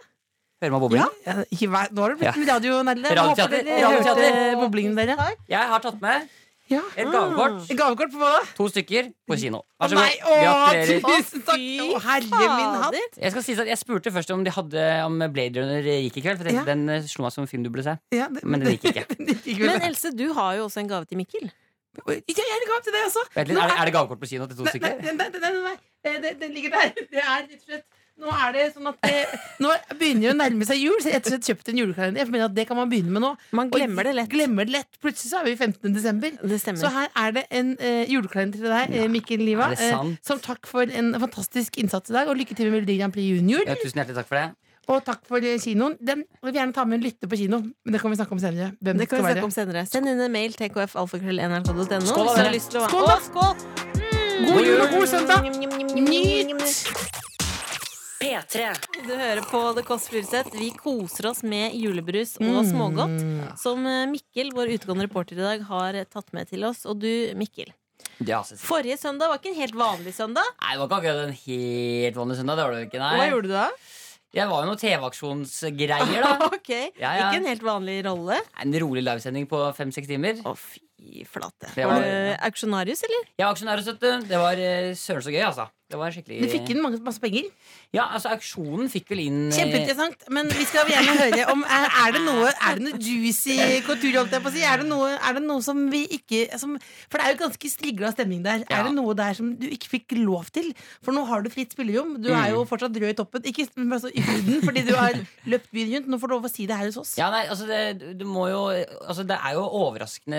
[SPEAKER 5] Hører meg boblinga?
[SPEAKER 3] Ja, ikke vær- nå har du blitt
[SPEAKER 5] Ja.
[SPEAKER 3] radionerle.
[SPEAKER 5] Radioteater.
[SPEAKER 3] Håper dere hørte
[SPEAKER 5] Radioteater.
[SPEAKER 3] boblingen dere.
[SPEAKER 5] Jeg har tatt med Et gavekort.
[SPEAKER 3] Et gavekort på hva da?
[SPEAKER 5] To stykker på kino. Vær så
[SPEAKER 3] Nei,
[SPEAKER 5] god.
[SPEAKER 3] Mm. å,
[SPEAKER 5] Gratulerer.
[SPEAKER 3] tusen takk! Å, herre min hatt!
[SPEAKER 5] Jeg skal si at jeg spurte først om de hadde Om Blade Runner gikk i kveld. For jeg tenkte,
[SPEAKER 2] Ja.
[SPEAKER 5] den eh, slo meg som en film du burde se.
[SPEAKER 3] Ja, det-
[SPEAKER 5] Men den gikk ikke.
[SPEAKER 2] Men Else, du har jo også en gave til Mikkel.
[SPEAKER 3] Jeg har en gave til deg også!
[SPEAKER 5] Vent litt, er, det, er det gavekort på kino til to
[SPEAKER 3] Nei, nei,
[SPEAKER 5] stykker?
[SPEAKER 3] nei, nei, nei, nei, nei. Eh, det- Den ligger der. Det er rett og slett nå er det sånn at det, Nå begynner det å nærme seg jul, så jeg har rett og slett kjøpt en julekalender. Jeg mener at Det kan man begynne med nå. Man
[SPEAKER 2] glemmer
[SPEAKER 3] det lett. Plutselig så er vi i 15. desember. så her er det en eh, julekalender til deg, eh, Mikkel Liva,
[SPEAKER 5] Er det
[SPEAKER 3] eh,
[SPEAKER 5] sant?
[SPEAKER 3] som takk for en fantastisk innsats i dag. Og lykke til med Melodi Grand Prix Junior.
[SPEAKER 5] Ja, tusen hjertelig takk for det.
[SPEAKER 3] Og takk for eh, kinoen. Den vil vi gjerne ta med en lytter på kino, men det kan vi snakke om senere. Hvem
[SPEAKER 2] Det kan vi
[SPEAKER 3] skal
[SPEAKER 2] snakke om senere. Send inn en mail tkfalfakrøll.nrk.no hvis
[SPEAKER 3] Skål,
[SPEAKER 2] du
[SPEAKER 3] dere.
[SPEAKER 2] har lyst til å
[SPEAKER 3] Skål, da.
[SPEAKER 2] Å, skål! Mm.
[SPEAKER 3] God jul og god søndag!
[SPEAKER 2] Nyt!
[SPEAKER 13] P3.
[SPEAKER 2] Du hører på The Kåss Furuseth. Vi koser oss med julebrus og smågodt, som eh, Mikkel, vår utegående reporter i dag, har eh, tatt med til oss. Og du, Mikkel.
[SPEAKER 5] Ja, Cecilie.
[SPEAKER 2] Forrige søndag var ikke en helt vanlig søndag.
[SPEAKER 5] Nei, det var ikke akkurat en helt vanlig søndag. Det var det jo ikke, nei.
[SPEAKER 2] Hva gjorde du da?
[SPEAKER 5] Jeg var jo noen TV-aksjonsgreier, da.
[SPEAKER 2] ok,
[SPEAKER 5] Ja, ja.
[SPEAKER 2] Ikke en helt vanlig rolle.
[SPEAKER 5] En rolig livesending på fem-seks timer.
[SPEAKER 2] Å, fy flate.
[SPEAKER 5] Det
[SPEAKER 2] Var
[SPEAKER 5] var,
[SPEAKER 2] du
[SPEAKER 5] ja.
[SPEAKER 2] auksjonarius, eller?
[SPEAKER 5] Jeg var aksjonær og støtte. Det var eh, søren så gøy, altså. Det var en skikkelig
[SPEAKER 3] Du fikk inn mange, masse penger.
[SPEAKER 5] Ja, altså, auksjonen fikk vel inn eh,
[SPEAKER 3] Kjempeinteressant, men vi skal gjerne høre om Er, er, det, noe, er det noe juicy kultur, holdt jeg på å si? Er det noe, er det noe som vi ikke som, For det er jo ganske strigla stemning der.
[SPEAKER 5] Ja.
[SPEAKER 3] Er det noe der som du ikke fikk lov til? For nå har du fritt spillerom. Du er
[SPEAKER 5] Mm.
[SPEAKER 3] jo fortsatt rød i toppen. Ikke men altså, i huden, fordi du har løpt byen rundt. Nå får du lov å si det her hos oss.
[SPEAKER 5] Ja, nei, altså det, du må jo altså Det er jo overraskende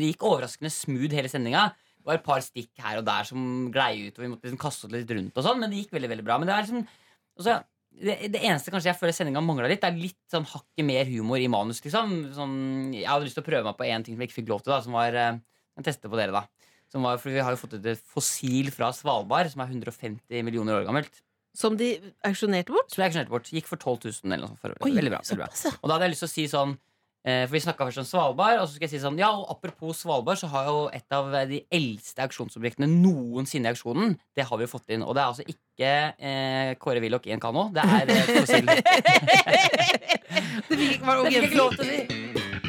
[SPEAKER 5] Det gikk overraskende smooth hele sendinga. Det var et par stikk her og der som glei ut, og vi måtte liksom kaste oss litt rundt og sånn, men det gikk veldig, veldig bra. Men det er liksom altså, det, det eneste kanskje jeg føler sendinga mangla litt, det er litt sånn hakket mer humor i manus, liksom. Sånn, jeg hadde lyst til å prøve meg på én ting som jeg ikke fikk lov til, da, som var eh, en teste på dere, da. Som var, for vi har jo fått ut et fossil fra Svalbard som er 150 millioner år gammelt.
[SPEAKER 2] Som de auksjonerte bort?
[SPEAKER 5] Som jeg auksjonerte bort. Gikk for 12 000 eller noe sånt. For,
[SPEAKER 2] Oi,
[SPEAKER 5] veldig bra. Veldig bra. Og da hadde jeg lyst til å si sånn eh, For vi snakka først om Svalbard, og så skal jeg si sånn Ja, og apropos Svalbard, så har jo et av de eldste auksjonsobjektene noensinne i auksjonen. Det har vi jo fått inn. Og det er altså ikke eh, Kåre Willoch i en kano. Det er eh, fossil.
[SPEAKER 3] Det fikk, var,
[SPEAKER 5] Det fikk ikke lov til
[SPEAKER 3] det.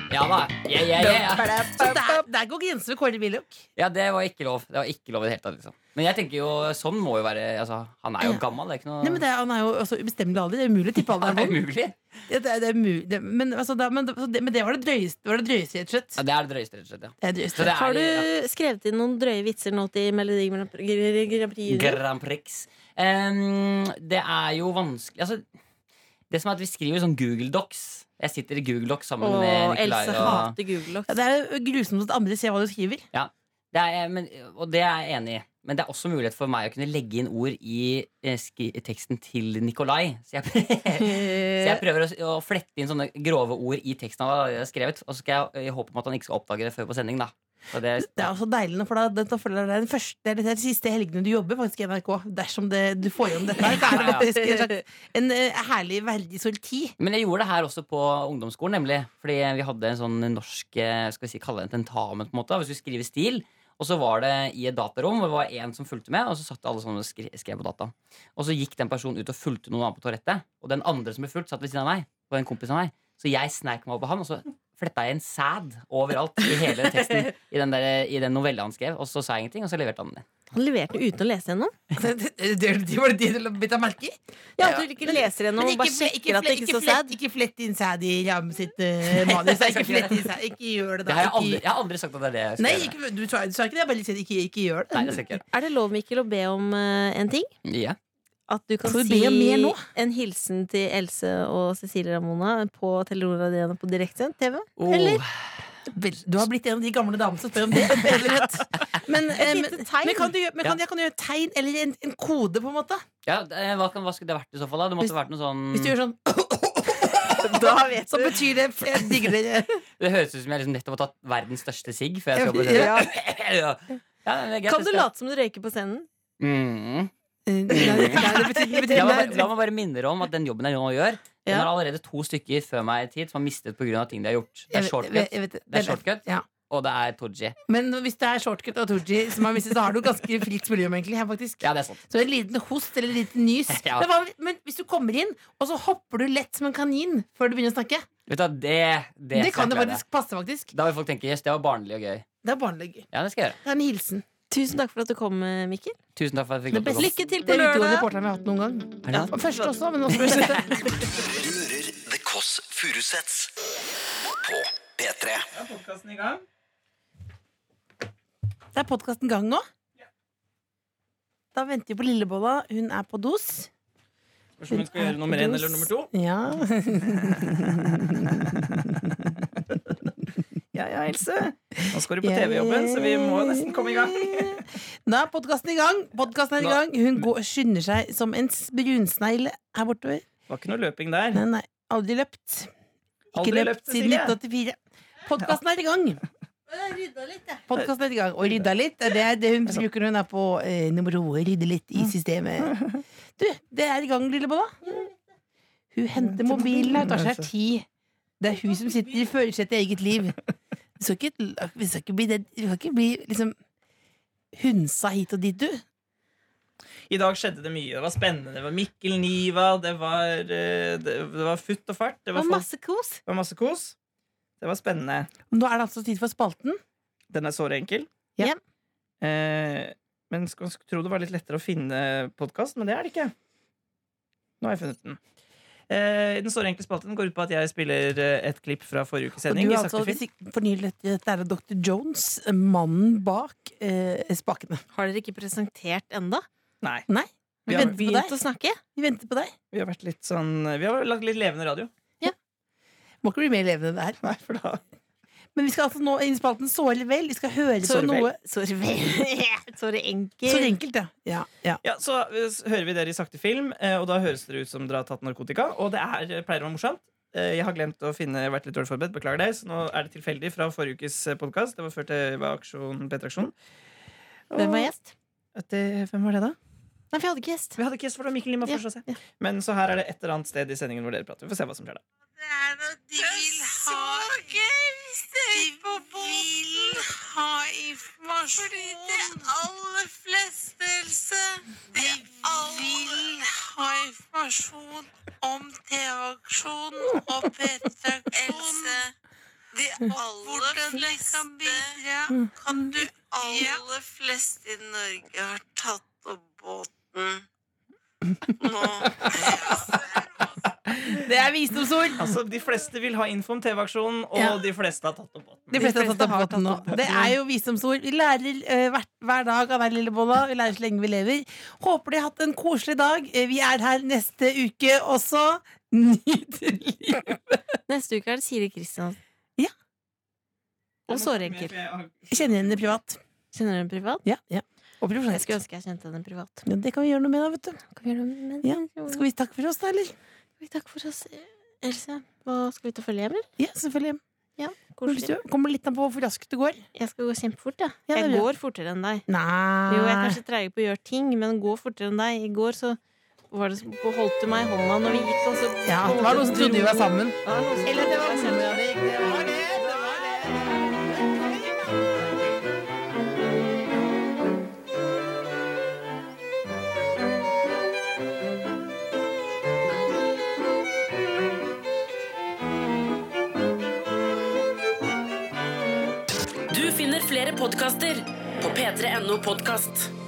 [SPEAKER 5] Ja da. Yeah, yeah, yeah.
[SPEAKER 3] Så der, der går grensen ved Kåre Willoch.
[SPEAKER 5] Ja, det var ikke lov. Det var ikke lov i det hele tatt, liksom. Men jeg tenker jo sånn må jo være Altså, han er jo gammel, det er ikke noe
[SPEAKER 3] Nei, men det, er- han er jo også ubestemmelig alder. Det er umulig å tippe alderen
[SPEAKER 5] det er
[SPEAKER 3] på den.
[SPEAKER 5] umulig.
[SPEAKER 3] Ja, det er- det er mulig. Det- Men altså, da- men det men det var det drøyeste, var det drøyeste rett og slett.
[SPEAKER 5] Ja, det er det drøyeste, rett og slett. Ja.
[SPEAKER 3] Det er drøyest.
[SPEAKER 5] Så det er-
[SPEAKER 2] Har
[SPEAKER 5] ja.
[SPEAKER 2] du skrevet inn noen drøye vitser nå til Melodi Grand Prix Grand Prix Junior?
[SPEAKER 5] Grand Prix. Em, det er jo vanskelig altså, Det som er at vi skriver sånn Google Docs. Jeg sitter i Google Docs sammen
[SPEAKER 2] Åh,
[SPEAKER 5] med Nikolai.
[SPEAKER 2] Else
[SPEAKER 5] og-
[SPEAKER 2] hater Google Docs.
[SPEAKER 3] Ja, det er jo grusomt at andre ser hva du skriver.
[SPEAKER 5] Ja, det er, eh, men, og det er jeg enig i. Men det er også mulighet for meg å kunne legge inn ord i eh, skri teksten til Nikolai. Så jeg, så jeg prøver å, s- å flette inn sånne grove ord i teksten han har skrevet. Og så skal jeg, jeg håpe om at han ikke skal oppdage det før på sending. Da. Så det,
[SPEAKER 3] Det er også deilig, nå, for da, da føler jeg det er den første eller den siste helgen du jobber faktisk i NRK. Dersom det, du får gjennom dette, her, så er det faktisk en, slags- en eh, herlig, verdig sorti.
[SPEAKER 5] Men jeg gjorde det her også på ungdomsskolen, nemlig. Fordi vi hadde en sånn norsk eh, Skal vi si, kalle det en tentamen, på en måte. da, Hvis du skriver stil. Og så var det i et datarom, hvor det var én som fulgte med. Og så satt alle sånn og skre- skrev på dataen. Og så gikk den personen ut og fulgte noen annen på toalettet. Og den andre som ble fulgt, satt ved siden av meg. Og en kompis av meg. Så jeg sneik meg opp på han, og så fletta jeg en sæd overalt i hele teksten. I den, der, i den novella han skrev. Og så sa jeg ingenting, og så leverte han den.
[SPEAKER 2] Han leverte den uten å lese gjennom.
[SPEAKER 3] Det, var det de du bet av merke i?
[SPEAKER 2] Ja, at du ikke leser gjennom
[SPEAKER 3] Men
[SPEAKER 2] og bare
[SPEAKER 3] fle-
[SPEAKER 2] sjekker at det ikke
[SPEAKER 3] ikke
[SPEAKER 2] står
[SPEAKER 3] flett,
[SPEAKER 2] sad.
[SPEAKER 3] ikke flett inn sæd i Ram sitt eh, manus. Ikke, flett inn sæd. ikke gjør det,
[SPEAKER 5] Det
[SPEAKER 3] da.
[SPEAKER 5] har jeg,
[SPEAKER 3] Ikke-
[SPEAKER 5] aldri, jeg har aldri sagt at det er det jeg skal
[SPEAKER 3] Nei,
[SPEAKER 5] gjøre.
[SPEAKER 3] ikke, du, sa, du sa ikke det. Jeg bare sier ikke, ikke gjør det.
[SPEAKER 5] Nei, det skal jeg ikke gjøre.
[SPEAKER 2] Er det lov, Mikkel, å be om eh, en ting?
[SPEAKER 5] Ja.
[SPEAKER 2] At du kan
[SPEAKER 3] Skal vi
[SPEAKER 2] si
[SPEAKER 3] be om mer nå?
[SPEAKER 2] en hilsen til Else og Cecilie Ramona på Telenoradiaen på direktesendt TV?
[SPEAKER 5] Oh.
[SPEAKER 2] Eller?
[SPEAKER 3] Vel, Du har blitt en av de gamle damene som spør om det. Eller rett. Men, eh, men,
[SPEAKER 2] lite tegn.
[SPEAKER 3] men kan du gjøre men kan, jeg kan gjøre et tegn eller en, en kode, på en måte?
[SPEAKER 5] Ja, det- hva, kan, hva skulle det vært i så fall? da? Det måtte vært noe sånn
[SPEAKER 3] Hvis du gjør sånn Så betyr det Eh, Jeg digger dere.
[SPEAKER 5] Det høres ut som jeg liksom nettopp har tatt verdens største sigg. Før jeg skal på
[SPEAKER 3] Ja.
[SPEAKER 5] scenen. ja. men det er greit,
[SPEAKER 2] Kan du
[SPEAKER 5] jeg skal-
[SPEAKER 2] late som du røyker på scenen?
[SPEAKER 5] Mm.
[SPEAKER 3] det betyr- det betyr-
[SPEAKER 5] La meg bare- La meg bare minne dere om at den jobben jeg nå gjør, den
[SPEAKER 3] Ja.
[SPEAKER 5] har allerede to stykker før meg i tid som har mistet pga. ting de har gjort. Det
[SPEAKER 3] Jeg
[SPEAKER 5] er
[SPEAKER 3] vet-
[SPEAKER 5] shortcut,
[SPEAKER 3] jeg vet-
[SPEAKER 5] det er
[SPEAKER 3] det vet-
[SPEAKER 5] shortcut
[SPEAKER 3] ja.
[SPEAKER 5] og det er Tooji.
[SPEAKER 3] Men hvis det er shortcut og Tooji som har mistet, så har du ganske fritt spillerom, egentlig. Her, faktisk.
[SPEAKER 5] Ja, det er sant.
[SPEAKER 3] Så en liten host eller en liten nys.
[SPEAKER 5] Ja.
[SPEAKER 3] Men hva- men hvis du kommer inn, og så hopper du lett som en kanin før du begynner å snakke,
[SPEAKER 5] Vet du, hva, det, det,
[SPEAKER 3] det
[SPEAKER 5] skal
[SPEAKER 3] kan
[SPEAKER 5] jeg
[SPEAKER 3] jo
[SPEAKER 5] klare.
[SPEAKER 3] faktisk passe, faktisk.
[SPEAKER 5] Da vil folk tenke yes, det var barnlig og gøy.
[SPEAKER 3] Det er barneleger.
[SPEAKER 14] Ja, det skal jeg gjøre.
[SPEAKER 3] Det er en hilsen.
[SPEAKER 2] Tusen takk for at du kom, eh, Mikkel.
[SPEAKER 14] Tusen takk for at jeg fikk lov til å komme.
[SPEAKER 2] Lykke til
[SPEAKER 3] Det
[SPEAKER 2] på
[SPEAKER 3] er de to
[SPEAKER 2] lørdag!
[SPEAKER 3] reporterne vi har hatt noen gang.
[SPEAKER 14] det
[SPEAKER 3] Ja,
[SPEAKER 14] sant?
[SPEAKER 3] først også, men også først.
[SPEAKER 1] Du hører The Kåss Furuseths på P3.
[SPEAKER 6] Podkasten i gang.
[SPEAKER 3] Det er podkasten gang nå. Da venter vi på Lillebolla. Hun er på dos.
[SPEAKER 6] Spørs om hun skal gjøre nummer én eller nummer to.
[SPEAKER 3] Ja. ja, ja, Else.
[SPEAKER 6] Nå skal du på TV-jobben, så vi må jo nesten komme i gang.
[SPEAKER 3] Da er podkasten i gang. Podkasten er i gang. Hun går, skynder seg som en s- brunsnegle her bortover.
[SPEAKER 6] Var ikke noe løping der.
[SPEAKER 3] Nei, nei. Aldri løpt. Ikke
[SPEAKER 6] Aldri løpt,
[SPEAKER 3] siden
[SPEAKER 6] Silje.
[SPEAKER 3] 1984. Podkasten er i gang. Podkasten er i gang. Og rydda litt. Det er det hun bruker når hun er på eh, nummer to. Rydde litt i systemet. Du, det er i gang, lillebolla. Hun henter mobilen her. Tar
[SPEAKER 6] altså.
[SPEAKER 3] seg tid. Det er hun som sitter i førersetet i eget liv. Vi skal ikke, vi skal ikke bli, det, vi skal ikke bli liksom, hunsa hit og dit, du.
[SPEAKER 6] I dag skjedde det mye. Det var spennende. Det var Mikkel Niva, det var, eh, det, det var futt og fart. Det var, folk-
[SPEAKER 3] kos.
[SPEAKER 6] det var masse kos. Det var spennende.
[SPEAKER 3] Nå er det altså tid for spalten.
[SPEAKER 6] Den er såre enkel.
[SPEAKER 3] Ja.
[SPEAKER 6] Eh, men skulle skulle tro det var litt lettere å finne podkast, men det er det ikke. Nå har jeg funnet den. Eh, den såre enkle spalten går ut på at jeg spiller eh, et klipp fra forrige ukes
[SPEAKER 3] Og
[SPEAKER 6] sending.
[SPEAKER 3] du
[SPEAKER 6] i
[SPEAKER 3] er
[SPEAKER 6] sakte
[SPEAKER 3] altså,
[SPEAKER 6] film.
[SPEAKER 3] hvis ikke fornyer dette er Dr. Jones, mannen bak eh, spakene.
[SPEAKER 2] Har dere ikke presentert enda?
[SPEAKER 6] Nei.
[SPEAKER 3] Nei. Vi
[SPEAKER 6] Vi har,
[SPEAKER 3] venter på
[SPEAKER 2] Begynt
[SPEAKER 3] deg.
[SPEAKER 2] å snakke?
[SPEAKER 3] Vi venter på deg.
[SPEAKER 6] vi har vært litt sånn Vi har lagt litt levende radio.
[SPEAKER 3] Må ikke bli mer levende enn det her.
[SPEAKER 6] Nei, for da
[SPEAKER 3] Men vi skal altså nå inn i spalten Såre vel. Vi skal høre
[SPEAKER 6] Såre
[SPEAKER 3] på
[SPEAKER 6] vel.
[SPEAKER 3] noe
[SPEAKER 2] Sorry, Sorry enkelt.
[SPEAKER 3] Såre enkelt, ja. ja. ja.
[SPEAKER 6] Ja, så eh, s- hører vi dere i sakte film, eh, og da høres dere ut som dere har tatt narkotika. Og det er, pleier å være morsomt. Eh, Jeg har glemt å finne, jeg har vært litt dårlig forberedt, beklager det. Så nå er det tilfeldig fra forrige ukes podkast. Det var før det var aksjon P-traksjon.
[SPEAKER 2] Hvem var gjest?
[SPEAKER 6] Hvem var det, da?
[SPEAKER 2] Nei, for jeg hadde ikke gjest.
[SPEAKER 6] Vi hadde ikke gjest, for det var Mikkel Lima.
[SPEAKER 2] Ja,
[SPEAKER 6] forstå seg. Men så her er det et eller annet sted i sendingen hvor dere prater. Vi får se hva som skjer da.
[SPEAKER 15] De vil ha De vil ha informasjon. Fordi det aller fleste, Else De vil ha informasjon om TV-aksjonen og P3-aksjonen. De aller fleste kan du aller fleste i Norge har tatt opp båten.
[SPEAKER 3] Det er visdomsord!
[SPEAKER 6] Altså, De fleste vil ha info om TV-aksjonen, og
[SPEAKER 3] Ja.
[SPEAKER 6] de fleste har tatt opp båten.
[SPEAKER 3] De fleste har tatt opp båten nå.
[SPEAKER 6] båten.
[SPEAKER 3] Det er jo visdomsord. Vi lærer eh, hvert, hver dag av hver lille bolla. Vi lærer så lenge vi lever. Håper de har hatt en koselig dag. Eh, Vi er her neste uke også. Nyt livet.
[SPEAKER 2] Neste uke er det Siri Kristiansen.
[SPEAKER 3] Ja.
[SPEAKER 2] Og Såre enkelt.
[SPEAKER 3] Kjenner henne privat.
[SPEAKER 2] Kjenner du henne privat?
[SPEAKER 3] Ja, ja. Og
[SPEAKER 2] Jeg skulle
[SPEAKER 3] profesjonelt.
[SPEAKER 2] ønske jeg kjente henne privat.
[SPEAKER 3] Ja, det kan vi gjøre noe med, da, vet du.
[SPEAKER 2] Kan vi gjøre noe med det?
[SPEAKER 3] Ja. Skal vi takke for oss, da, eller?
[SPEAKER 2] vi takke for oss? Else, hva skal vi ta følge, eller?
[SPEAKER 3] Ja, selvfølgelig.
[SPEAKER 2] Ja,
[SPEAKER 3] Hvis du
[SPEAKER 2] koselig.
[SPEAKER 3] kommer litt an på hvor raskt du går.
[SPEAKER 2] Jeg skal gå kjempefort, ja.
[SPEAKER 3] Ja,
[SPEAKER 2] Jeg
[SPEAKER 3] det vil jeg. Ah.
[SPEAKER 2] går fortere enn deg.
[SPEAKER 3] Nei
[SPEAKER 2] Jo, jeg er kanskje treig på å gjøre ting, men gå fortere enn deg. I går så var det, som- holdt du meg i hånda når vi gikk, altså. og så
[SPEAKER 3] Ja, det var noen som trodde vi var sammen. Eller det var mora di.
[SPEAKER 4] Du finner flere podkaster på p3.no podkast.